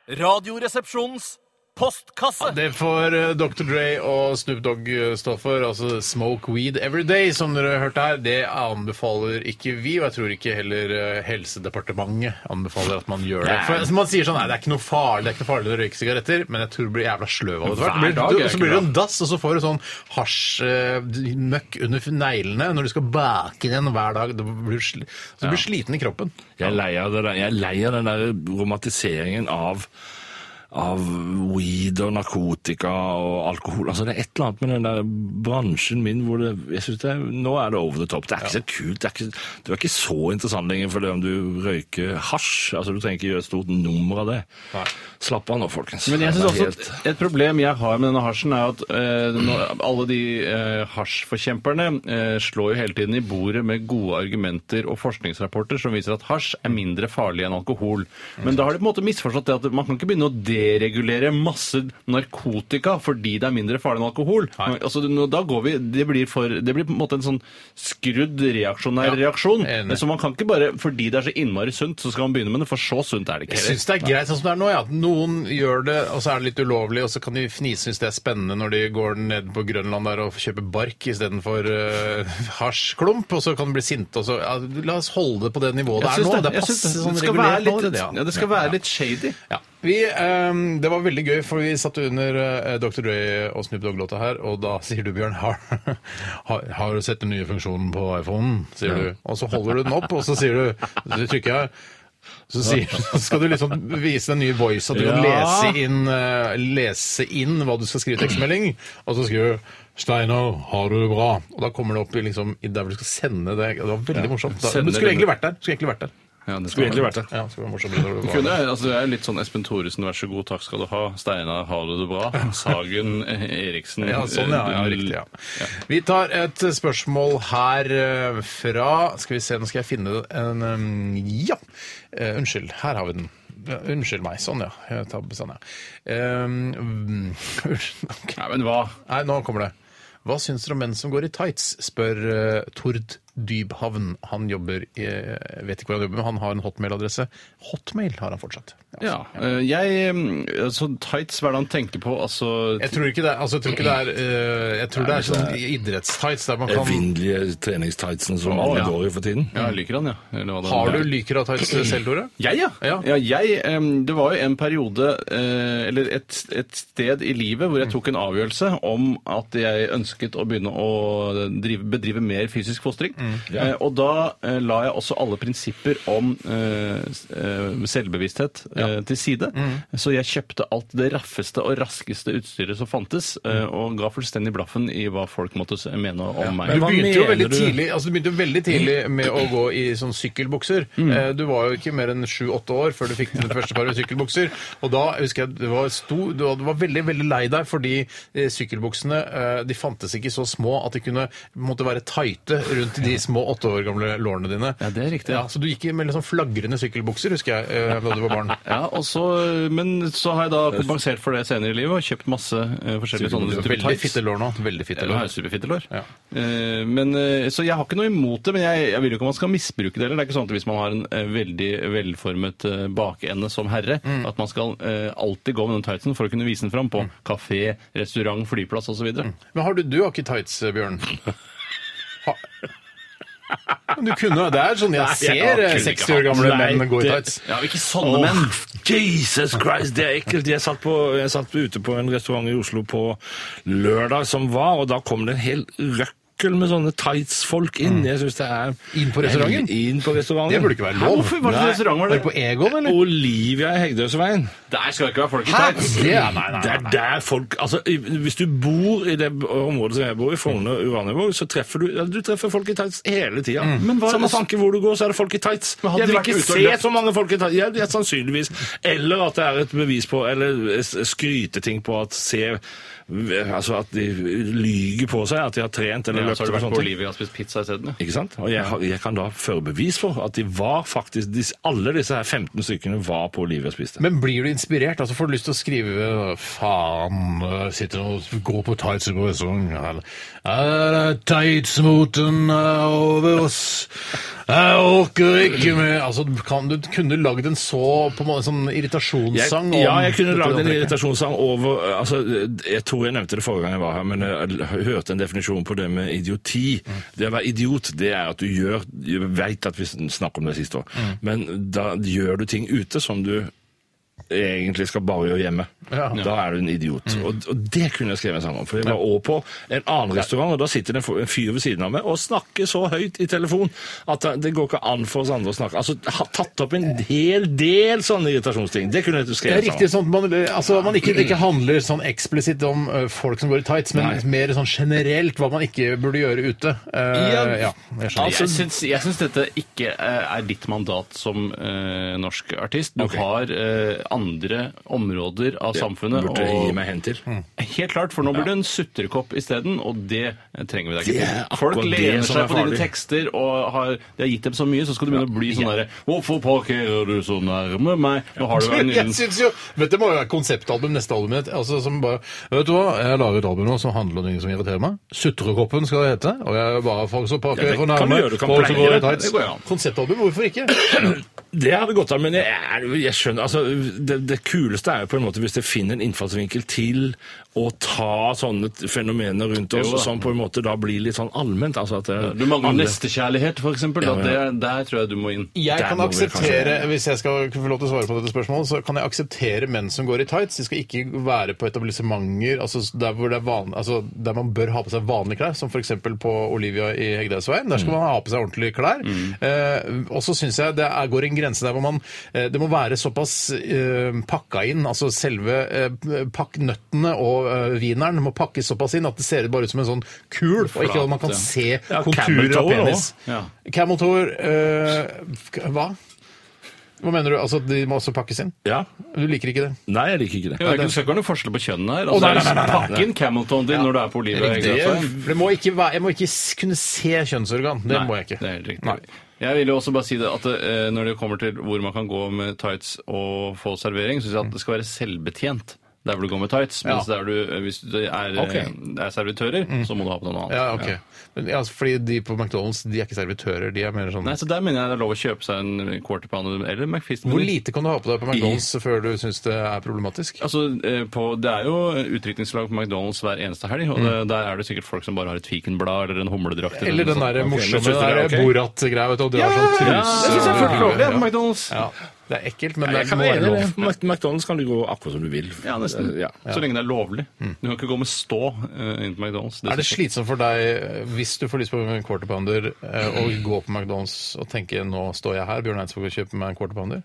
Radioresepsjonens postkasse. Det får eh, Dr. Dre og Snoop Dogg eh, stå for. Altså Smoke Weed Every Day, som dere hørte her. Det anbefaler ikke vi, og jeg tror ikke heller eh, Helsedepartementet anbefaler at man gjør det. For som man sier sånn, nei, det er ikke noe farlig det er ikke noe farlig å røyke sigaretter, men jeg tror du blir jævla sløv av det. etter hvert. Hver dag Du- er så ikke blir du en dass, og så får du sånn hasjmøkk under f- neglene når du skal bake den hver dag. Du blir, sli- så du blir sliten i kroppen. Jeg er lei av det der- jeg er lei av den der romantiseringen av av weed og narkotika og alkohol. Altså Det er et eller annet med den der bransjen min hvor det jeg synes det er, Nå er det over the top. Det er ikke så kult. Det er ikke, du er ikke så interessant lenger for det om du røyker hasj. Altså Du trenger ikke gjøre et stort nummer av det. Slapp av nå, folkens. Men jeg Det synes er også helt- at Et problem jeg har med denne hasjen, er at eh, nå- alle de eh, hasjforkjemperne eh, slår jo hele tiden i bordet med gode argumenter og forskningsrapporter som viser at hasj er mindre farlig enn alkohol. Men da har de på en måte misforstått det at man kan ikke begynne å deregulere masse narkotika fordi det er mindre farlig enn alkohol. Altså, nå- da går vi, det, blir for, det blir på en måte en sånn skrudd reaksjonær reaksjon. enig. Så man kan ikke bare fordi det er så innmari sunt, så skal man begynne med det, for så sunt er det Jeg ikke. syns det er greit sånn som det er nå. Ja. At Noen gjør det, og så er det litt ulovlig, og så kan de fnise synes det er spennende når de går ned på Grønland der og kjøper bark istedenfor uh, hasjklump, og så kan de bli sinte. og så- Ja, la oss holde det på det nivået det Jeg er syns nå. Det jeg er syns passe sånn det skal være regulert nå. litt, det, ja, det skal være litt shady. Ja. Vi, ehm, det var veldig gøy, for vi satt under eh, Dr. Dre og Snoop Dogg-låta her, og da sier du, Bjørn, har, har, har du sett den nye funksjonen på iPhonen? Sier du. Og så holder du den opp, og så sier du, så trykker jeg, så, sier, så skal du liksom vise den nye voice, at du kan Ja. lese inn, eh, lese inn hva du skal skrive i tekstmelding, og så skriver du, Steinar, har du det bra? Og da kommer det opp i liksom, i der hvor du skal sende det. Det var veldig morsomt. Da, Sende men du skulle det- egentlig vært der. Skulle egentlig vært der. Ja, det Skulle egentlig vært det. Ja, det skulle være morsomt. når du var Kunne, altså Det er litt sånn Espen Thoresen, vær så god, takk skal du ha. Steinar, har du det bra? Sagen, eh, Eriksen Ja, sånn, ja. ja eh, riktig, ja. Vi tar et spørsmål her eh, fra Skal vi se, nå skal jeg finne en eh, Ja! Eh, Unnskyld, her har vi den. Ja, Unnskyld meg. Sånn, ja. Jeg tar, sånn, ja. Eh, mm, ok. Nei, men hva? Nei, nå kommer det. Hva syns dere om menn som går i tights, spør eh, Tord Dybhavn. Han jobber i, jeg vet ikke hvor han jobber, men han har en hotmail-adresse. Hotmail har han fortsatt. Ja. Ja, eh, jeg mm, altså, Tights, hva er det han tenker på? Altså Jeg tror ikke det er, altså, jeg tror ikke det er, eh, jeg tror det er sånn idrettstights der man kan Evinnelige treningstightsene som Å, alle ja. går i for tiden. Ja, jeg liker han, ja. Eller hva det Har er. du liker å ha tights selv, Tore? Jeg, ja. ja. Ja. jeg, em, det var jo en periode, eh, eller et, et sted i livet, hvor Mm. jeg tok en avgjørelse om at jeg ønsket å begynne å drive, bedrive mer fysisk fostring. Mm. Eh, og da eh, la jeg også alle prinsipper om eh, s- eh, selvbevissthet eh, til side. Mm. Så jeg kjøpte alt det raffeste og raskeste utstyret som fantes, eh, Mm. og ga fullstendig blaffen i hva folk måtte s- mene om meg. Du hva begynte, jo mener veldig du? tidlig, altså du begynte jo veldig tidlig med å gå i sånn sykkelbukser. Mm. Eh, Du var jo ikke mer enn sju-åtte år før du fikk din første par sykkelbukser. Og da husker jeg du var, sto- du var, du var veldig veldig lei deg fordi eh, sykkelbuksene eh, de fantes ikke så små at de kunne måtte være tighte rundt de små åtte år gamle lårene dine. Ja, det er riktig. Ja, så du gikk i med litt sånn flagrende sykkelbukser, husker jeg, eh, da du var barn. Ja, og så- Men så har jeg da kompensert for det senere i livet og køpt masse eh, forskjellige sånne typer Veldig tights. fitte lår nå. Veldig fitte Eller har lår. jeg superfitte lår. Ja. Eh, men, eh, så jeg har ikke noe imot det, men jeg, jeg vil jo ikke at man skal misbruke det. Eller. Det er ikke sånn at Hvis man har en eh, veldig velformet eh, bakende som herre, Mm. at man skal eh, alltid gå med den tightsen for å kunne vise den fram på kafé, restaurant, flyplass osv. Men har du, du har ikke tights, eh, Bjørn? Ha, men du kunne, det er sånn jeg jeg har ser eh, kunne ikke 60 år gamle Nei, menn gå i det- tights. Ja, ikke sånne Åh, menn! Jesus Christ, det er ekkelt. Jeg satt, på, jeg satt ute på en restaurant i Oslo på lørdag som var, og da kom det en hel røkkel med sånne tights-folk Mm. inn. Jeg synes det er... Inn på restauranten? Inn på restauranten. Det burde ikke være lov. Hvorfor var det Nei. restaurant var det? på Egon, eller? Olivia i Hegdøsveien. Der skal det ikke være folk i tights! Det er, nei, nei, Det er nei. der folk altså, i- Hvis du bor i det området som jeg bor i, Frogner og Uranienborg, så treffer du, ja, du treffer folk i tights hele tida. Mm. hva- Samme tanke hvor du går, så er det folk i tights. Men hadde Jeg de vil vært ikke ute og se løpt? så mange folk i tights. Ja, ja, sannsynligvis. Eller at det er et bevis på Eller s- skryteting på at se Altså at de lyger på seg, at de har trent eller Ja, løpt. så har du eller vært sånne på ting. Olivia og spist pizza isteden. ja. Ikke sant? Og jeg, har- jeg kan da føre bevis for at de var faktisk disse- Alle disse her 15 stykkene var på Olivia og spiste. Men blir du inspirert? Altså Får du lyst til å skrive Faen, jeg sitter og går på tights på restaurant her. Er det tightsmoten er eh, over oss? Jeg orker ikke mer Altså, du kan, du kunne lagd en så på en måte, sånn irritasjonssang Jeg, ja, jeg kunne dette lagd en antrekket. irritasjonssang over altså, Jeg tror jeg nevnte det forrige gang jeg var her, men jeg hørte en definisjon på det med idioti. Det å være idiot, det er at du gjør Jeg veit at vi snakker om det siste år, Mm. men da gjør du ting ute som du egentlig skal bare gjøre hjemme. Ja. Da er du en idiot. Mm. Og, og det kunne jeg skrevet en sang om. For jeg var også på en annen restaurant, og da sitter det en fo- en fyr ved siden av meg og snakker så høyt i telefon at det- det går ikke an for oss andre å snakke. Altså, jeg har tatt opp en hel del sånne irritasjonsting. Det kunne jeg Det skrevet er en sang riktig om. sånn at man, altså, man ikke, det ikke handler sånn eksplisitt om ø, folk som går i tights, men mer sånn generelt hva man ikke burde gjøre ute. Eh, Ja. ja, jeg skjønner. jeg, syns, jeg syns dette ikke eh, er ditt mandat som eh, norsk artist. Du har eh, andre områder av av samfunnet. Burde og- gi meg hen til. Helt klart, for nå blir det en sutrekopp isteden, og det trenger vi deg Det ikke er til. Folk akkurat det lener som er seg på dine farlig. tekster, og har, de har gitt dem så mye, så skal du begynne å bli sånn derre Hvorfor parkerer du så nærme meg? Nå har du en Jeg liten synes jo, vet du, Det må jo være konseptalbum neste albumet. Altså, som bare, vet du hva, Jeg lager et album nå som handler om ting som irriterer meg. Sutrekoppen skal det hete. Og jeg er bare folk som Ja, pakker det for kan du nærme. gjøre, du kan Folk som går pleie i det. tights. Det går jo an. Konseptalbum, hvorfor ikke? Det hadde gått an, men jeg, er- jeg skjønner altså, det, det kuleste er jo på en måte hvis det finner en innfallsvinkel til å ta sånne t- fenomener rundt oss, Jo da. som på en måte da blir litt sånn allment. Altså at det, Du mangler alle- nestekjærlighet, for eksempel. Ja, da, ja. det- Der tror jeg du må inn. Jeg Der kan må vi akseptere, Hvis jeg skal få lov til å svare på dette spørsmålet, så kan jeg akseptere menn som går i tights. De skal ikke være på etablissementer altså der, hvor det er van, altså der man bør ha på seg vanlige klær, som f.eks. på Olivia i Hegdehaugsveien. Der Mm. skal man ha på seg ordentlige klær. Eh, og så syns jeg det er, går en grense der hvor man eh, Det må være såpass eh, pakka inn, altså selve eh, pakk nøttene og eh, wieneren må pakkes såpass inn at det ser bare ut som en sånn kul, og ikke at man kan ja. se Ja, konturer camel toe av penis. også. Ja. Camel toe eh, Hva? Hva mener du? Altså, De må også pakkes inn? Ja. Du liker ikke det? Nei, jeg liker ikke det. Ja, det skal ikke være noe forskjell på kjønnene her. Å, nei, nei, nei, nei, nei. Pakk inn Camelton din når du er på Olivia. Det, det må ikke være, jeg må ikke s- kunne se kjønnsorgan. Det må jeg ikke. Det er helt riktig. Nei. Jeg vil jo også bare si det at eh, når det kommer til hvor man kan gå med tights og få servering, syns jeg at det skal være selvbetjent. Der hvor du går med tights. Mens Ja. Mm. der du, eh, hvis det er, eh, Ok. det er servitører, så må du ha på deg noe annet. Ja, ok. Men, ja, altså, fordi de på McDonald's de er ikke servitører. De er mer sånn Nei, så Der mener jeg det er lov å kjøpe seg en quarter pounder eller McFist. Hvor lite kan du ha på deg på McDonald's før du syns det er problematisk? Altså, eh, på, Det er jo utdrikningslag på McDonald's hver eneste helg, og det, der er det sikkert folk som bare har et fikenblad eller en humledrakt. Mm. Eller den der morsomme synes du det er der ok? Borat-greia. vet du, og drar sånn truse Ja, det syns jeg er fullt lovlig ja, over på huet. McDonald's. Ja. Det er ekkelt, men Jeg det kan må være være enig i lov. det. Mac- McDonald's kan du gå akkurat som du vil. Eh, Ja, nesten. Ja. Så lenge det er lovlig. Du kan ikke gå med stå eh, inn på McDonald's. Er det synes jeg- slitsomt for deg eh, hvis du får lyst på en quarter pounder eh, og gå på McDonald's og tenke nå står jeg her, Bjørn Eidsvåg, og kjøper meg en quarter pounder?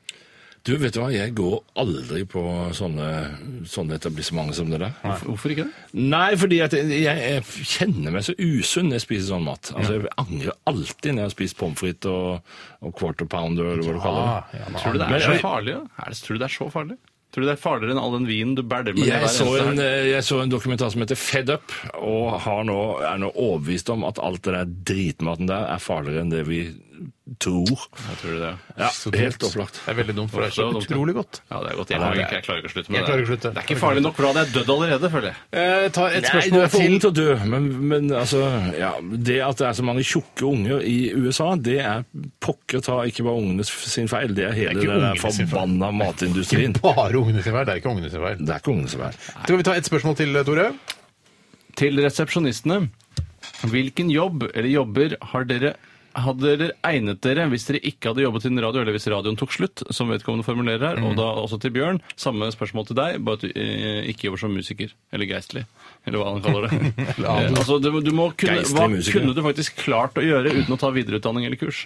Du, vet du hva, jeg går aldri på sånne, sånne etablissementer som det der. Hvorfor ikke det? Nei, fordi at jeg, jeg kjenner meg så usunn når jeg spiser sånn mat. Altså, Jeg angrer alltid når jeg har spist pommes frites og, og quarter pounder, eller hva du kaller det. Ah, ja, Tror du det er Men- så farlig? da? Er det, tror du det er så farlig? Tror du det er farligere enn all den vinen du bærer med deg hver Jeg så, eneste en, helg? eh, jeg så en dokumentar som heter Fed Up, og har nå, er nå overbevist om at alt det der dritmaten der er farligere enn det vi tror. Jeg tror det. er- Ja, Så helt dumt. opplagt. Det er veldig dumt, for det er så Opplagt, dumt, ja. utrolig godt. Ja, det er godt. Jeg, har ikke- jeg klarer ikke å slutte med Jeg det. klarer ikke å slutte. Det er ikke farlig nok, for da hadde jeg dødd allerede, føler jeg. Eh, ta et Nei, du spørsmål er for ung til. til å dø, men, men altså, ja, det at det er så mange tjukke unger i USA, det er pokker ta ikke bare ungene sin feil, det er hele Det er ikke den der ungene sin feil. forbanna matindustrien. Bare ungene sin feil. Det er ikke ungene sin feil. Det er ikke ungene som er. Skal vi ta et spørsmål til, eh, Tore? Til resepsjonistene. Hvilken jobb eller jobber har dere hadde dere egnet dere hvis dere ikke hadde jobbet innen radio, eller hvis radioen tok slutt, som vedkommende formulerer her, Mm. og da også til Bjørn, samme spørsmål til deg, bare at du eh, ikke jobber som musiker, eller geistlig, eller hva han kaller det. Eh, altså, du, du må kunne, Geistlig hva musiker. kunne du faktisk klart å gjøre uten å ta videreutdanning eller kurs?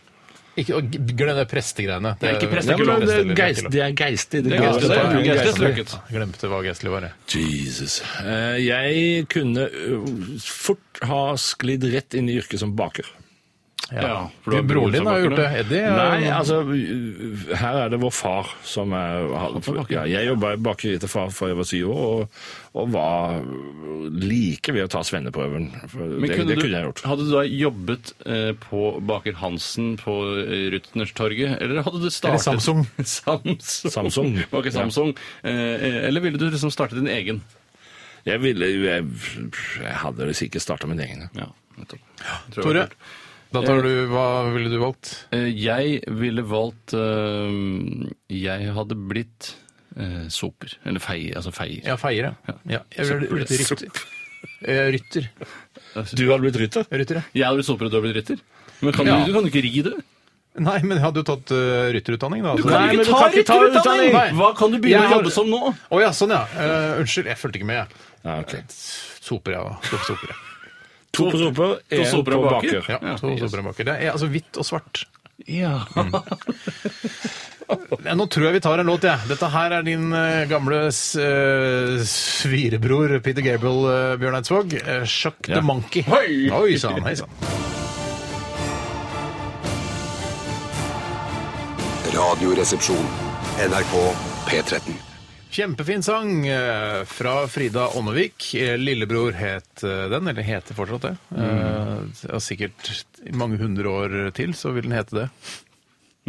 Ikke, og glem det prestegreiene. Det er ikke prest, Nei, ikke men lov. det er Geistlig, geist- lov. Det er geistig. det er Det er geistlig, det er geistlig. geistlig strøket. Jeg Glemte hva geistlig var. jeg. Jesus. Eh, Jeg kunne ø, fort ha sklidd rett inn i yrket som baker. Ja, Du, for du har broren din har jo gjort det. Eddie eh, er- Nei, altså, ø, her er det vår far som er ja, Jeg jobba i bakeriet til far fra jeg var syv år, og, og var like ved å ta svenneprøven. For Men Det, kunne det du, kunne jeg gjort. Hadde du da jobbet eh, på Baker Hansen på eh, Rutnerstorget, eller hadde du startet Eller Samsung. Samsung. Samsung. Baker Samsung. Eh, eller ville du liksom starte din egen? Jeg, ville, jo- jeg, jeg hadde det sikkert starta min egen. ja. Ja, nettopp. Tror Tore, jeg var kult. da tar du, hva ville du valgt? Eh, jeg ville valgt eh, Jeg hadde blitt eh, soper. Eller fei, altså feier. Ja, feier, ja. ja. Jeg ville blitt rytter. Eh, Rytter. Du hadde blitt rytter? Rytter, ja. Jeg hadde blitt soper, og du hadde blitt rytter. Men kan Ja. du, du kan jo ikke ri det. Nei, men jeg hadde jo tatt eh, rytterutdanning, da. kan Nei, jo men ikke ta rytterutdanning! Nei. Hva kan du begynne Jeg å har- jobbe som nå? Å ja, sånn ja. Eh, unnskyld, jeg fulgte ikke med. jeg. Ja, ok. Soper, ja. To soper, ja. To på soper, én på soper og baker. baker. ja, to soper bak. Det er altså hvitt og svart. Ja. Ja, nå tror jeg vi tar en låt, jeg. Dette her er din eh, gamle s- eh, svirebror Peter Gable, eh, Bjørn Eidsvåg. Eh, Shuck the Monkey. Hoi! Oi sann, hei sann. Radioresepsjon. NRK P13. Kjempefin sang eh, fra Frida Ånnevik. Eh, Lillebror het eh, den, eller heter fortsatt det. Mm. Eh, ja, sikkert i mange hundre år til så vil den hete det.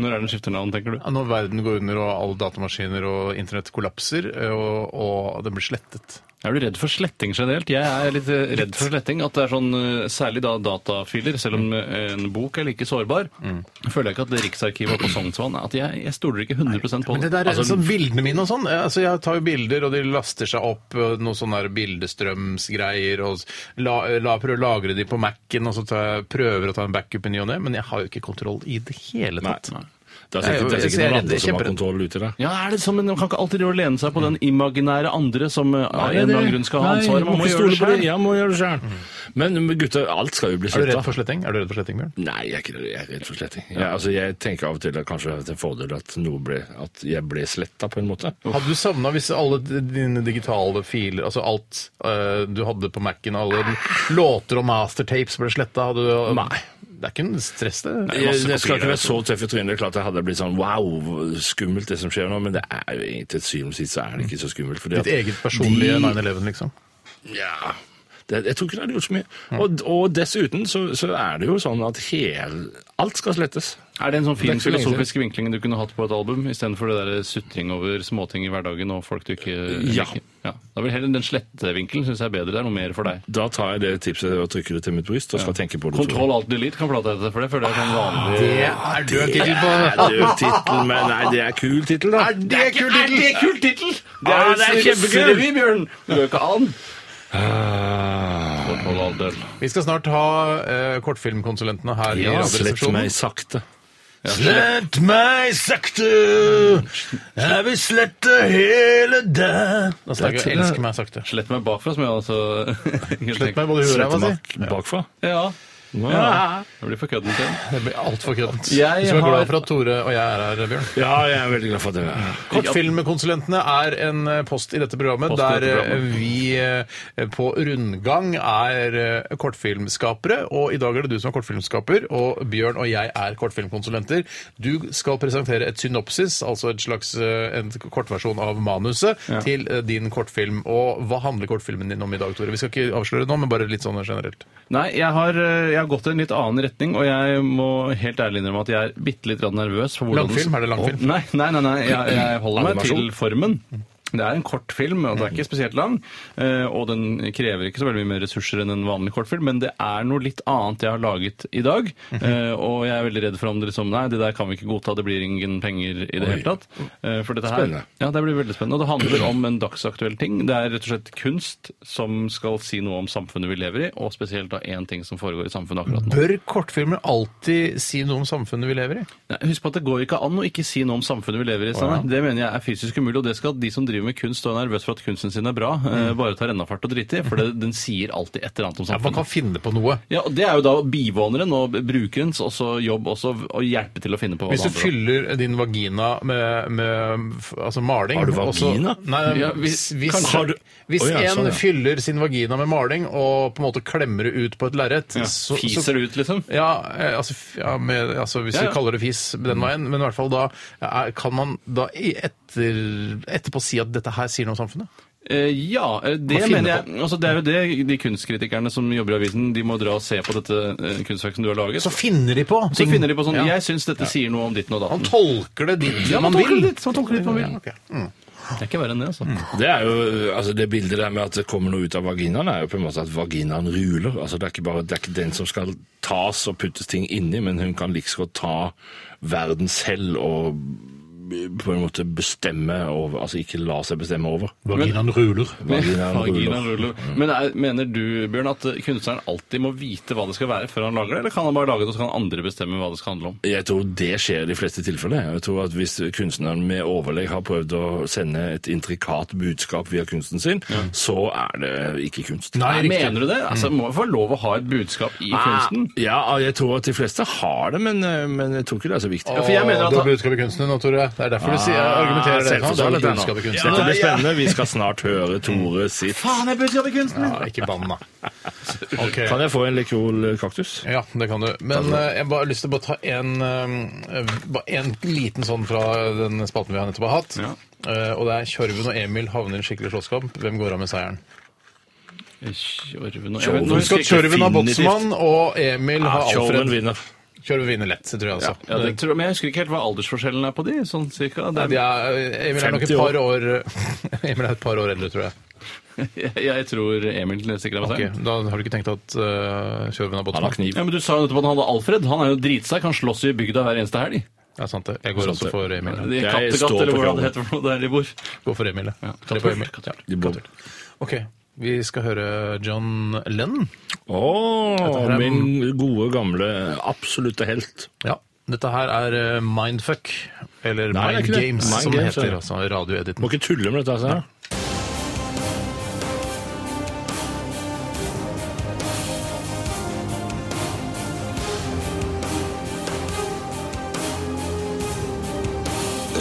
Når er den skifter navn, tenker du? Ja, Når verden går under og alle datamaskiner og internett kollapser, eh, og, og den blir slettet. Er du redd for sletting generelt? Jeg er litt eh, redd for sletting. At det er sånn, eh, Særlig da datafiler, selv om eh, en bok er like sårbar. Føler jeg ikke at det Riksarkivet på Sognsvann at jeg, jeg stoler ikke 100 på Men det der, altså, Bildene mine og sånn eh, altså Jeg tar jo bilder, og de laster seg opp eh, noen sånne der bildestrømsgreier. og s- la, la, Prøver å lagre de på Mac-en, og så tar jeg, prøver å ta en backup i ny og ne. Men jeg har jo ikke kontroll i det hele Nei. tatt. Det er Jeg- sikkert, det er jeg- jeg er redd, sikkert noen andre som har kjemperedd. kontroll ute i det. Ja, er det sånn, men Man kan ikke alltid lene seg på den imaginære andre som eh, av en eller annen grunn skal ha ansvaret. Man må ikke gjøre det stole på det. selv. Ja, må gjøre det selv. Men men gutter, alt skal jo Er bli du redd sletta. for sletting? Er du redd for sletting, Bjørn? Nei, jeg er ikke jeg er redd for sletting. Jeg, altså, jeg tenker av og til at kanskje det er en fordel at, noe ble, at jeg ble sletta, på en måte. Hadde du savna hvis alle d- dine digitale filer, altså alt eh, du hadde på Mac-en, alle låter og mastertapes ble sletta? Nei. Det er ikke en stress, det. Jeg, jeg skal ikke være så tøff i trynet. Det er Klart jeg hadde blitt sånn wow, skummelt det som skjer nå, men det er jo egentlig til syvende og sist så er det ikke så skummelt. fordi Ditt at eget personlige de- 9-11, liksom. Ja. Det, jeg tror ikke det hadde gjort så mye. Mm. Og, og dessuten så, så er det jo sånn at hel, alt skal slettes. Er det en sånn Det er fin ikke så lenge filosofisk vinkling du kunne hatt på et album, istedenfor det der sutring over småting i hverdagen og folk du ikke Ja. liker? ja. Da vil heller Den slettevinkelen syns jeg er bedre. Det er noe mer for deg. Da tar jeg det tipset og trykker det til mitt bryst og skal tenke på det. Kontroll alt delete kan flate hete, for det føler jeg er sånn vanlig Det er død tittel på Død tittel, men nei, det er kul tittel, da. Er det kul tittel? kul tittel! Det Ah, er, det er kjempekul! russerevy, Bjørn! Det går ikke an. Ah. Kontroll alt del. Vi skal snart ha eh, kortfilmkonsulentene her i Ja, slett Radioresepsjonen. meg sakte. Slett meg sakte, jeg vil slette hele deg. Da snakker Altså, jeg 'elsker meg sakte'. Slett meg bakfra, som jeg altså Slett meg både i huet og ræva, si. Bak, bakfra. Ja. Ja. Det blir for kødden til. Det blir altfor køddent. Du Jeg skal være har- glad for at Tore og jeg er her, Bjørn. ja, jeg er veldig glad for at det er Kortfilmkonsulentene er en eh, post i dette programmet Post i der dette eh, programmet. vi eh, på rundgang er eh, kortfilmskapere. Og i dag er det du som er kortfilmskaper, og Bjørn og jeg er kortfilmkonsulenter. Du skal presentere et synopsis, altså et slags, eh, en kortversjon av manuset, til eh, din kortfilm. Og hva handler kortfilmen din om i dag, Tore? Vi skal ikke avsløre det nå, men bare litt sånn generelt. Nei, jeg har, eh, jeg har gått i en litt annen retning, og jeg må helt ærlig innrømme at jeg er bitte litt grann nervøs. For hvordan Langfilm? Er det langfilm? Mm. Å, Nei, nei, nei, nei jeg, jeg holder meg Animasjon? Mm. til formen. Det er en kort film, og den er ikke spesielt lang. eh, Og den krever ikke så veldig mye mer ressurser enn en vanlig kortfilm, men det er noe litt annet jeg har laget i dag. Mhm. eh, Og jeg er veldig redd for om det liksom Nei, det der kan vi ikke godta, det blir ingen penger i det hele tatt. Eh, For dette her Spennende. Ja, det blir veldig spennende. Og det handler om en dagsaktuell ting. Det er rett og slett kunst som skal si noe om samfunnet vi lever i, og spesielt da én ting som foregår i samfunnet akkurat nå. Bør kortfilmer alltid si noe om samfunnet vi lever i? Nei, Husk på at det går ikke an å ikke si noe om samfunnet vi lever i. Steinar. Det mener jeg er fysisk umulig, og det skal de som driver med kunst og er nervøse for at kunsten sin er bra, eh, bare ta rennafart og drite i, for det, den sier alltid et eller annet om Mm. Ja, man samfunnet. kan finne på noe. Ja, og Det er jo da bivåneren og brukerens også jobb også å hjelpe til å finne på hva Hvis du det handler om. fyller din vagina med, med f- altså maling Har du og så- vagina? Nei, Ja, hvis, hvis- hvis, kanskje har du- hvis Å, ja, en sånn, ja. fyller sin vagina med maling og på en måte klemmer det ut på et lerret Ja, så- så- Fiser det ut, liksom? Ja, eh, altså, f- ja, med, altså hvis Ja, ja. vi kaller det fis den veien, men i hvert fall da er, kan man da i etter, etterpå si at dette her sier noe om samfunnet? Eh, ja, eh, det Hva finner mener jeg. Altså, det er jo det de kunstkritikerne som jobber i avisen, de må dra og se på dette eh, kunstverket som du har laget. Så finner de på! Så finner de på sånn Ja. Jeg syns dette sier noe om ditten og Man datten. tolker det dit Ja, man, man tolker vil. det litt, man tolker det litt man vil. Ja, ok. Mm. Det er ikke verre enn det, altså. Det er jo, altså det bildet der med at det kommer noe ut av vaginaen, er jo på en måte at vaginaen ruler. Altså det er ikke bare det er ikke den som skal tas og puttes ting inni, men hun kan like så godt ta verden selv og på en måte bestemme over, altså ikke la seg bestemme over. Vaginaen ruler. Vaginaen Vaginaen ruler. ruller. Mm. Men er, mener du, Bjørn, at eh, kunstneren alltid må vite hva det skal være før han lager det, eller kan han bare lage det, og så kan andre bestemme hva det skal handle om? Jeg tror det skjer i de fleste tilfeller. Jeg tror at Hvis kunstneren med overlegg har prøvd å sende et intrikat budskap via kunsten sin, så er det ikke kunst. Nei, riktig. Mm. Ah. Mener du det? Altså, Må jo få lov å ha et budskap i kunsten. Ja, ah, jeg tror at de fleste har det, men, eh, men jeg tror ikke det er så viktig. for jeg mener at Du er han- budskaperkunstner nå, Tore. Det er derfor du sier, Ah, jeg argumenterer det. nå. Du er Selvforståelig, budskaperkunstner. Ah, Dette blir spennende. Vi skal snart høre Tore sitt. Faen, jeg budskap i kunsten! Ja, ikke bann, da. Ok. Kan jeg få en eh, Lekrol-kaktus? Ja, det kan du. Men eh, jeg bare har lyst til å bare ta en, eh, bare en liten sånn fra den spalten vi har nettopp har hatt. Ja. Eh, Og det er Tjorven og Emil havner i en skikkelig slåsskamp. Hvem går av med seieren? Tjorven og Tjorven. jeg vet- nå Husk husker at jeg ikke Tjorven har definitivt- botsmann, og Emil Ja, har Tjorven Alfred. vinner. Tjorven vinner lett, det tror jeg altså. Ja, det tror jeg, men jeg husker ikke helt hva aldersforskjellen er på de, sånn cirka. Det De er, er, Emil er nok et 50 par år Emil er et par år eldre, tror jeg. jeg tror Emil sikrer meg Ok, seg. Da har du ikke tenkt at eh, Tjorven har Han har botsmann? kniv. Ja, men Du sa jo nettopp at han hadde Alfred. Han er jo dritsekk. Han slåss i bygda hver eneste helg. Det er sant, det. Jeg går Sant også det. for Emil. I Jeg Kattegat, står på eller hvordan Kallen. det heter for noe der de bor. Gå for Emil, ja. Eller på Katolf, Emil. Katolf. Ja. Ok, vi skal høre John Lennon. Å, her er- min gode, gamle, absolutte helt. Ja. Dette her er eh, Mindfuck, eller Nei, det er Mind ikke det. Games, Mind som det Games, heter. ja. Altså, radioediten. Må ikke tulle med dette. Altså.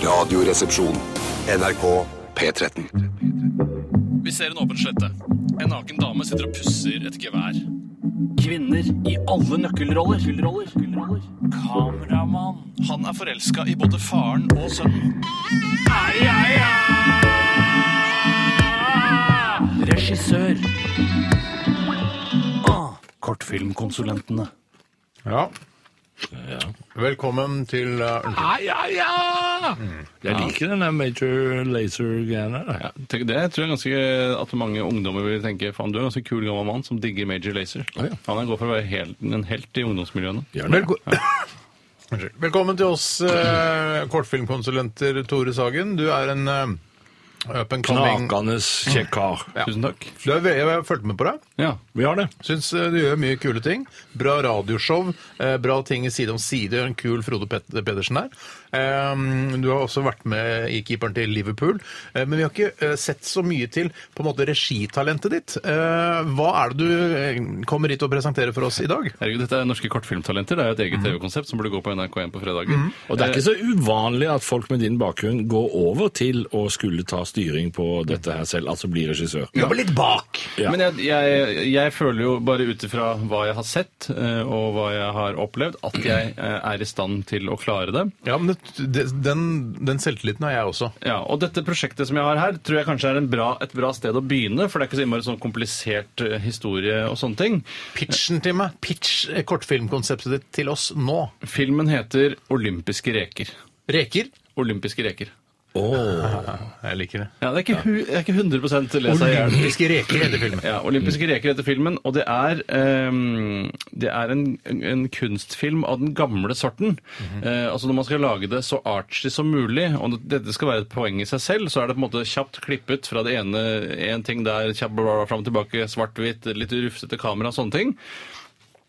Radioresepsjon. NRK P13. Vi ser en åpen slette. En naken dame sitter og pusser et gevær. Kvinner i alle nøkkelroller. Kameramann. Han er forelska i både faren og sønnen. Regissør. Ah, kortfilmkonsulentene. Ja. Velkommen til eh, unnskyld. Ai, ai, ai! Jeg liker den der major laser-greia der. Ja. Tenk, Det tror jeg ganske at mange ungdommer vil tenke faen, du er en ganske kul gammel mann som digger Major Lazer. Å, ja. Han er god for å være helt, en helt i ungdomsmiljøene. Gjør den det? Velko Unnskyld. Velkommen til oss, eh, kortfilmkonsulenter Tore Sagen. Du er en eh, up and coming Knakende kjekk kar. Tusen takk. Du er, jeg har fulgt med på deg. Ja. Vi har det. Syns eh, du gjør mye kule ting. Bra radioshow, eh, bra ting i Side om side. Gjør en kul Frode Pet Pedersen der. Eh, Du har også vært med i keeperen til Liverpool. Eh, Men vi har ikke eh, sett så mye til på en måte regitalentet ditt. Eh, Hva er det du eh, kommer hit og presenterer for oss i dag? Herregud, dette er norske kortfilmtalenter. Det er jo et eget TV-konsept som burde gå på NRK1 på fredager. Mhm. Og det er ikke så uvanlig at folk med din bakgrunn går over til å skulle ta styring på dette her selv, altså bli regissør. Jobbe litt bak! Ja. Eh, Men jeg, jeg, jeg føler jo bare ut ifra hva jeg har sett eh, og hva jeg har opplevd, at jeg eh, er i stand til å klare det. Ja, men det, det, den, den selvtilliten har jeg også. Ja, og dette prosjektet som jeg har her, tror jeg kanskje er en bra, et bra sted å begynne, for det er ikke så innmari sånn komplisert eh, historie og sånne ting. Pitchen til meg. Pitch eh, kortfilmkonseptet ditt til oss nå. Filmen heter Olympiske reker. Reker. Olympiske reker. Jeg liker det. Ja, det er ikke, hu, det er ikke 100 Altså, lesa i hjel. Olympiske reker heter filmen. Ja, Olympiske Mm. reker heter filmen, og det er, ehm, det er en, en kunstfilm av den gamle sorten. Mhm. Eh, altså Når man skal lage det så artsy som mulig, og når dette skal være et poeng i seg selv, så er det på en måte kjapt klippet fra det ene en ting der, kjapt bla, bla, bla, fram og tilbake, svart-hvitt, litt rufsete kamera og sånne ting.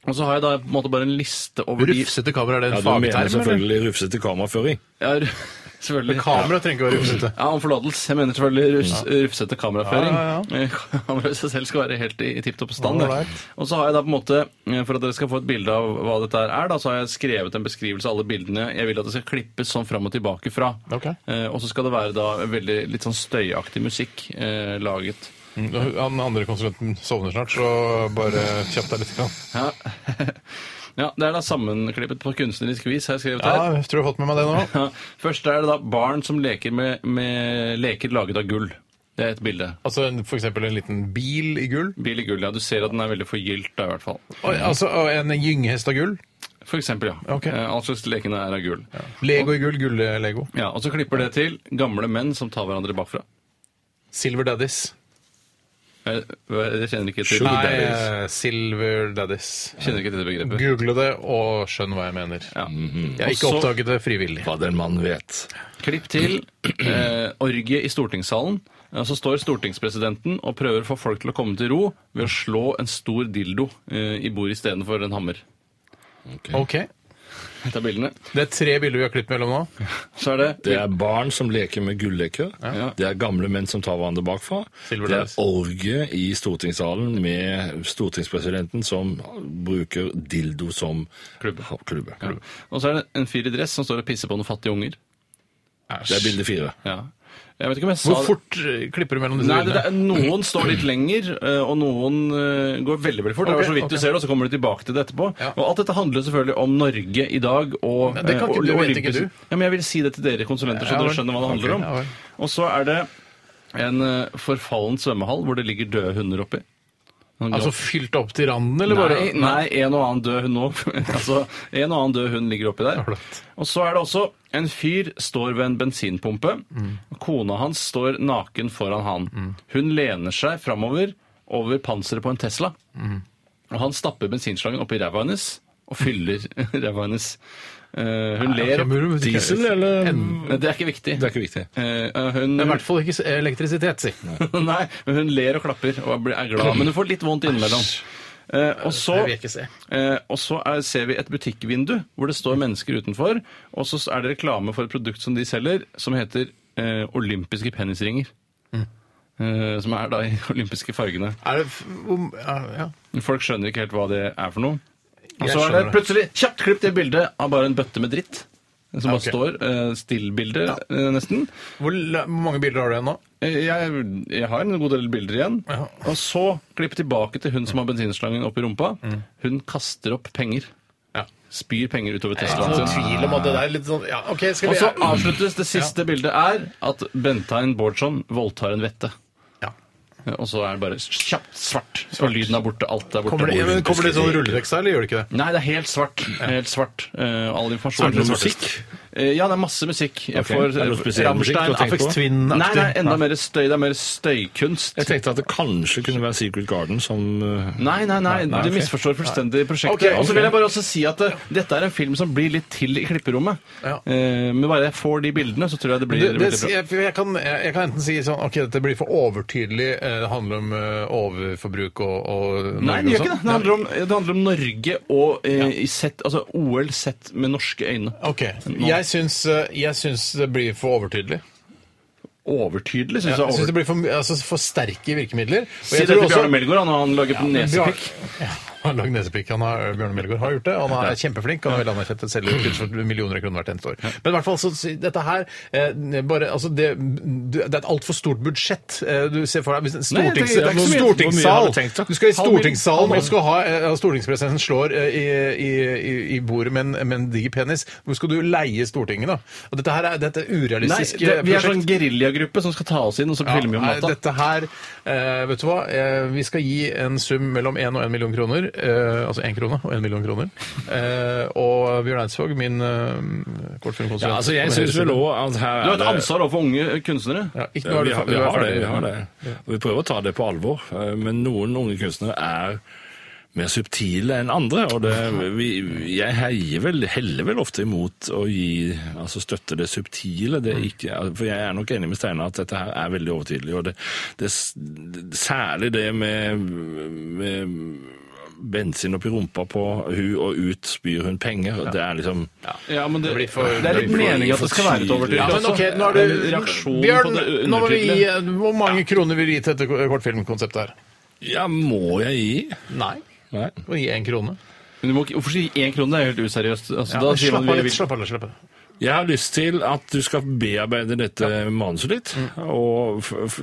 Og så har jeg da på en måte bare en liste over de Rufsete kamera, er det Ja, en du mener fagterm? eller? selvfølgelig rufsete kameraføring. Ja, ru- selvfølgelig. Kamera trenger ikke være rufsete. Ja, Om forlatelse. Jeg mener selvfølgelig rus, rufsete kameraføring. Ja, Eh, Kameraet i seg selv skal være helt i, i tipp topp stand. det. Alright. Og så har jeg da på en måte, eh, For at dere skal få et bilde av hva dette her er, da, så har jeg skrevet en beskrivelse av alle bildene jeg vil at det skal klippes sånn fram og tilbake fra. Ok. Eh, og så skal det være da veldig litt sånn støyaktig musikk eh, laget. Mm, Han andre konsulenten sovner snart, så bare kjapp deg litt. grann. Ja. ja, Det er da sammenklippet på kunstnerisk vis, har jeg skrevet her. Ja, jeg tror jeg har fått med meg det nå. Ja, Først er det da barn som leker med, med leker laget av gull. Det er et bilde. Altså en- for eksempel en liten bil i gull. Bil i gull, ja. Du ser at den er veldig forgylt, da, i hvert fall. Og, altså og en gyngehest av gull. For eksempel, ja. Ok. Eh, All slags lekene er av gull. Ja. Lego i gull, gull-lego. Og så klipper det til gamle menn som tar hverandre bakfra. Silver Daddies. Jeg, Eh, jeg kjenner ikke til, Nei, Nei, jeg eh, Silver Daddies. kjenner ikke til det begrepet. Google det og skjønn hva jeg mener. Ja. Mhm. Jeg har ikke Og så- oppdaget det frivillig. Hva den mannen vet. Klipp til eh, orgie i stortingssalen. Og så står stortingspresidenten og prøver å få folk til å komme til ro ved å slå en stor dildo eh, i bordet istedenfor en hammer. Ok. Et av bildene. Det er tre bilder vi har klippet mellom nå. Så er det, Det er barn som leker med gulleker. Det er gamle menn som tar hverandre bakfra. Silver det er Days. orgie i stortingssalen med stortingspresidenten som bruker dildo som klubbe. Og så er det en fyr i dress som står og pisser på noen fattige unger. Det er bilde fire. Ja. Jeg vet ikke om jeg sa Hvor fort eh, klipper du mellom disse Nei, det, linjene? det, noen står litt lenger, eh, og noen eh, går veldig veldig fort. det Ok, er så vidt ok. du ser, og så kommer du tilbake til det etterpå. Ja. Og alt dette handler selvfølgelig om Norge i dag og Men det kan eh, ikke og- du, og vet ikke Olympus- du. Ja, men jeg vil si det til dere konsulenter, så Ja, dere vel. skjønner hva det handler Ok, om. ja, vel. og så er det en eh, forfallen svømmehall hvor det ligger døde hunder oppi. Noen Altså gammel- fylt opp til randen, eller bare Nei, nei, en og annen død hund nå. altså, en og annen død hund ligger oppi der. Ålreit. Og så er det også en fyr står ved en bensinpumpe. Mm. Kona hans står naken foran han. Hun lener seg framover over panseret på en Tesla. Mm. Og han stapper bensinslangen oppi ræva hennes og fyller ræva hennes. Eh, hun ler. ok, men det er ikke- Diesel, eller? En- Det er ikke viktig. Det er ikke viktig. Eh, eh, hun, Det er i hvert fall ikke s- elektrisitet, si. Nei, men hun ler og klapper og blir- er glad. Men hun får litt vondt innimellom. Eh, og så, Det vil jeg ikke se. Eh, og så er, ser vi et butikkvindu hvor det står mennesker utenfor. Og så er det reklame for et produkt som de selger, som heter eh, olympiske penisringer. Mm. Eh, som er da i olympiske fargene. Er det f- om- ja, ja. Folk skjønner ikke helt hva det er for noe. Jeg Og så er det skjønner det. plutselig kjapt klipp til bildet av bare en bøtte med dritt. Som bare Ok. står. Eh, Stillbilde, eh, nesten. Hvor la- hvor mange bilder har du igjen nå? Eh, Jeg, jeg har en god del bilder igjen. Ja. Og så klipp tilbake til hun som har bensinslangen oppi rumpa. Hun kaster opp penger. Mm. Ja. Spyr penger utover Teslaen Noen sin. tvil om at det der er litt sånn ja, OK, skal Og vi så avsluttes det siste bildet er at Bentein Bårdsson voldtar en vette. Ja. Og så er det bare kjapt svart. Og lyden er borte. Alt er borte. Kommer det, ja, men kommer det sånn rulletekst her, eller gjør det ikke det? Nei, det er helt svart. Helt svart. Eh, all informasjon. Er det noe musikk? Eh, ja, det er masse musikk. Jeg eh, Ok. Er det noe spesiell musikk du har Rammstein, tenkt på? Aphex Twin-aktig. Nei, det er enda mer støy. Det er mer støykunst. Jeg tenkte at det kanskje kunne være Secret Garden som eh, Nei, nei, nei, Nei, nei, du ok. misforstår fullstendig prosjektet. Ok, Og så ok. vil jeg bare også si at eh, dette er en film som blir litt til i klipperommet. Ja. Eh, men bare jeg får de bildene, så tror jeg det blir Det, det, veldig bra. jeg, jeg, kan, jeg, jeg kan enten si sånn OK, dette blir for overtydelig. eh, Det handler om eh, overforbruk og, og Nei, Norge det gjør og ikke det. sånn. Det handler om, det handler om Norge og eh, i sett, altså OL sett med norske øyne. OK. Jeg syns, eh, jeg syns det blir for overtydelig. Overtydelig, Jeg syns jeg. syns det Over... blir for, my- altså, for sterke virkemidler. Og Si jeg det tror til også- Bjarne Melgaard, han, han lager på Bjar- nesepikk. Ja, Han har lagd nesepikk. Han har, Bjørn Melgaard har gjort det. Han er kjempeflink. Han er veldig anerkjent. og Selger ut for millioner av kroner hvert eneste år. Men i hvert fall, så, si- dette her eh, bare, altså, det, det er et altfor stort budsjett. Eh, Du ser for deg hvis en Nei, jeg stortings, tenker- det er ikke så mye. Hvor mye stortingssal. har du tenkt, da? Du skal i Halv mil- halv stortingssalen mil. og skal ha eh, ja, stortingspresidenten slår eh, i, i, i, i bordet med en, med en diger penis. Hvor skal du leie Stortinget, da? Og dette her er dette er Nei, urealistiske det, vi er eh, prosjekt. sånn geriljagruppe som skal ta oss inn, og så Ja, filmer vi om nei, natta. Dette her, eh, vet du hva, eh, vi skal gi en sum mellom 1 og 1 million kroner, eh, altså 1 krone og 1 million kroner, eh, og Bjørn Eidsvåg, min eh, kortfilmkonsulent. Ja, altså, jeg kommer syns hele tiden. vel òg at her Du har er et det- ansvar overfor unge kunstnere. Ja, ikke, nå Ja, er vi du fer- har, vi du er har det. ferdig. Vi har det. Og vi prøver å ta det på alvor. eh, Men noen unge kunstnere er mer subtile enn andre. Og det, vi, jeg heier vel, heller vel ofte imot å gi, altså støtte det subtile. Det er ikke, for jeg er nok enig med Steinar at dette her er veldig overtydelig. Og det, det, særlig det med, med bensin oppi rumpa på hun, og ut spyr hun penger. Det er liksom Ja, men det, blir for- det er litt det blir for- mening at det skal være et overtydelig. Ja, men også. ok, nå er det... Reaksjonen Bjørn, på det nå må vi gi, undertydelig. eh, hvor mange kroner vil du gi til dette ko- kortfilmkonseptet her? Ja, må jeg gi? Nei. Nei. Må gi 1 krone. Men du må ikke, hvorfor si én krone? Det er jo helt useriøst. Altså, Ja, da men sier man slapp av vi litt, vil. slapp av litt, slapp av litt. Jeg har lyst til at du skal bearbeide dette manuset ditt, og f f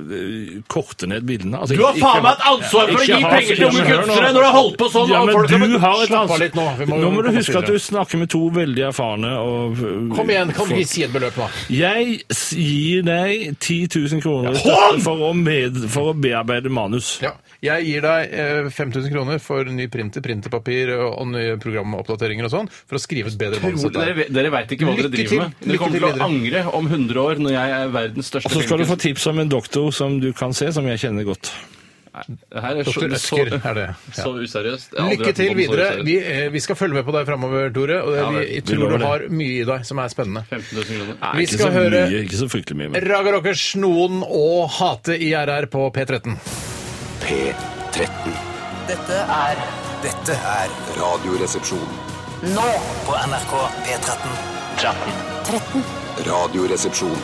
korte ned bildene. Altså, Du har ikke- faen meg et ansvar for å ikke gi ha- penger til unge Ja, men hør nå. kunstnere når du har holdt på sånn! Ja, og men folk har- du har et Slapp av ansvar. litt nå, vi må- nå må du vi må huske at forstyrre. du snakker med to veldig erfarne og Kom igjen, kan du folk. ikke si et beløp nå? Jeg s- gir deg 10 000 kroner i støtte for å, med, for å bearbeide manus. Ja. Jeg gir deg eh, 5000 kroner for ny printer, printerpapir og, og nye programoppdateringer og sånn, for å skrive et bedre manus. enn dette her. Dere, vet- dere veit ikke hva dere Lykke driver til. med. Dere Lykke kommer til til å videre. angre om 100 år når jeg er verdens største Og så skal du få filmkunstner. tips om en doktor som du kan se, som jeg kjenner godt. Det her er så, Dr. så, Ødsker er det. Ja. så useriøst. Jeg har aldri Lykke vært til på noe så videre. useriøst. Vi, eh, vi skal følge med på deg framover, Tore. Og det, Ja, vi, vel. jeg Vi tror lover du det. har mye i deg som er spennende. 15 000 kroner. Nei, Vi ikke skal så høre- mye, Ikke så fryktelig mye, men Raga Rockers, noen og hate i RR på P13. P13. Dette er Dette er Radioresepsjon. nå på NRK P13. Radioresepsjon.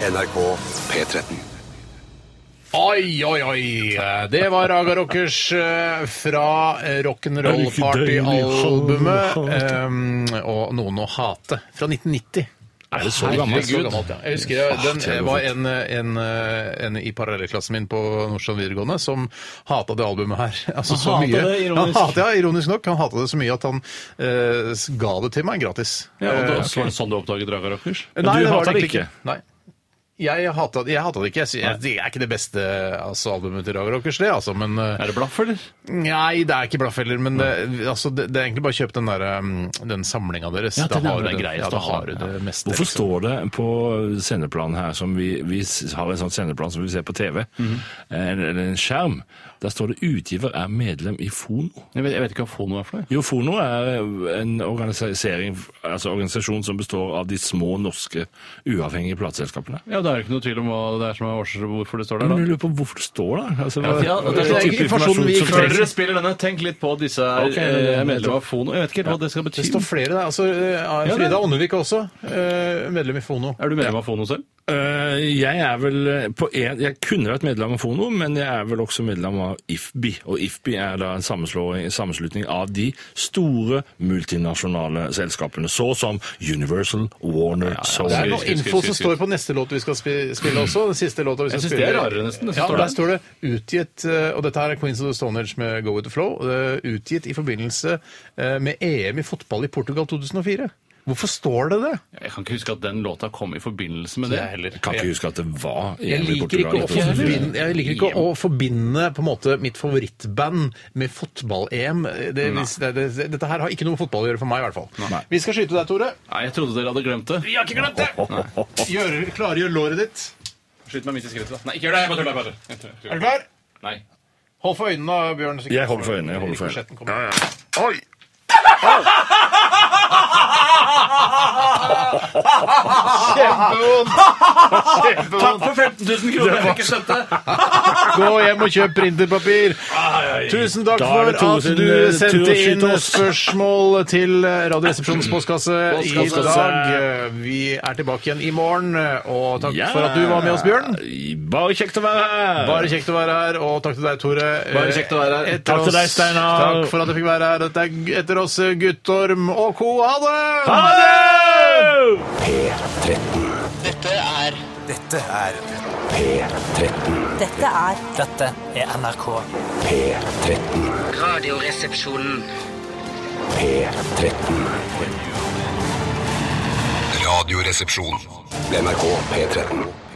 NRK P13. Oi, oi, oi! Det var Raga Rockers eh, fra Er Rock'n'Roll det ikke deilig? Party-albumet. eh, Og Noen å hate. Fra 1990. Er det så gammelt? Så gammelt, ja. Jeg husker jeg, den, det var en, en, eh, en i parallellklassen min på Nordstrand videregående som hata det albumet her. Altså, så hatet mye. det, ironisk. Han hatet, ja, ironisk nok. Han hata det så mye at han eh, ga det til meg gratis. Ja, og Eh, da, så var det sånn du oppdaget Raga Rockers? Nei, du det var hatet nok det ikke? Nei. Jeg hata, jeg hatet det ikke. Jeg, sy- jeg, det er ikke det beste altså, albumet til Raga Rockers, det, altså. Men eh, Er det blaff, eller? Nei, det er ikke blaff heller, men det, altså, det, det er egentlig bare å kjøpe den, der, um, den samlinga deres. Ja, da den er har du vel den- grei, Ja, da da har du har- det meste. Hvorfor liksom. står det på sendeplanen her som vi, vi s- har en sånn sendeplan som vi ser på TV, Mhm. en, eller en skjerm, der står det 'utgiver er medlem i Fono'. Jeg vet, jeg vet ikke hva fono er for noe. Jo, Fono er eh, en organisering, altså organisasjon som består av de små norske uavhengige plateselskapene. Ja, Da er det ikke noe tvil om hva det er som er årsaken hvorfor det står der. Men da. jeg lurer på hvorfor det står der? Altså, hva- ja, og det er sånn hva ikke type informasjon vi som ikke Før trengs? dere spiller denne, tenk litt på at disse er Ok, eh, nettopp. medlem av Fono. Jeg vet ikke helt hva det skal Det bety. står flere der. altså eh, det- Frida Ånnevik er også eh, medlem i Fono. Er du medlem av Fono selv? Øh, jeg er vel eh, på en, Jeg kunne vært medlem av Fono, men jeg er vel også medlem av IFBI. Og IFBI er da en sammenslåing- sammenslutning av de store multinasjonale selskapene, så som Universal, Warner, Sony Det er noe info som står på neste låt vi skal spi- spille også. Den siste låta vi skal Jeg synes spille. det er rarere nesten, det som Ja, står der der. står det utgitt eh, Og dette her er Queens of the Stone Age med Go With The Flow. eh, Utgitt i forbindelse eh, med EM i fotball i Portugal 2004. Hvorfor står det det? Jeg kan ikke huske at den låta kom i forbindelse med det. Jeg heller. Jeg kan ikke huske at det var Jeg EM i liker, ikke Portugal. å E forbinde, jeg liker ikke å forbinde på en måte mitt favorittband med fotball-EM. Det, hvis- det, det, dette her har ikke noe med fotball å gjøre for meg, i hvert fall. Vi skal skyte deg, Tore. Nei, Jeg trodde dere hadde glemt det. Vi har ikke glemt det! Gjør, klargjør låret ditt. Skyt meg midt i skrittet. da. Nei, ikke gjør det! Jeg bare tuller. jeg bare tuller. Jeg tuller. Er du klar? Nei. Hold for øynene, da, Bjørn. Jeg holder for øynene. Jeg holder for Rikosjetten øynene. kommer. Ja, ja. Takk for 15 000 kroner! Jeg fikk ikke støtte. Gå hjem og kjøp printerpapir! Tusen takk Da er for det Tore at sin, du eh, tur sendte å skyte inn oss. spørsmål til Radioresepsjonens postkasse i Postkasse. dag. Vi er tilbake igjen i morgen, eh, og takk Ja. for at du var med oss, Bjørn. Bare kjekt å være her! Bare kjekt å være her, og takk til deg, Tore. Bare kjekt å være her. Etter Takk til deg, Steinar. Takk for at jeg fikk være her. Dette er etter oss Guttorm og co. Ha det! Ha det! P13. Dette er Dette er P13. Dette er Dette er NRK. P13. Radioresepsjonen. P13. Radioresepsjon. NRK P13.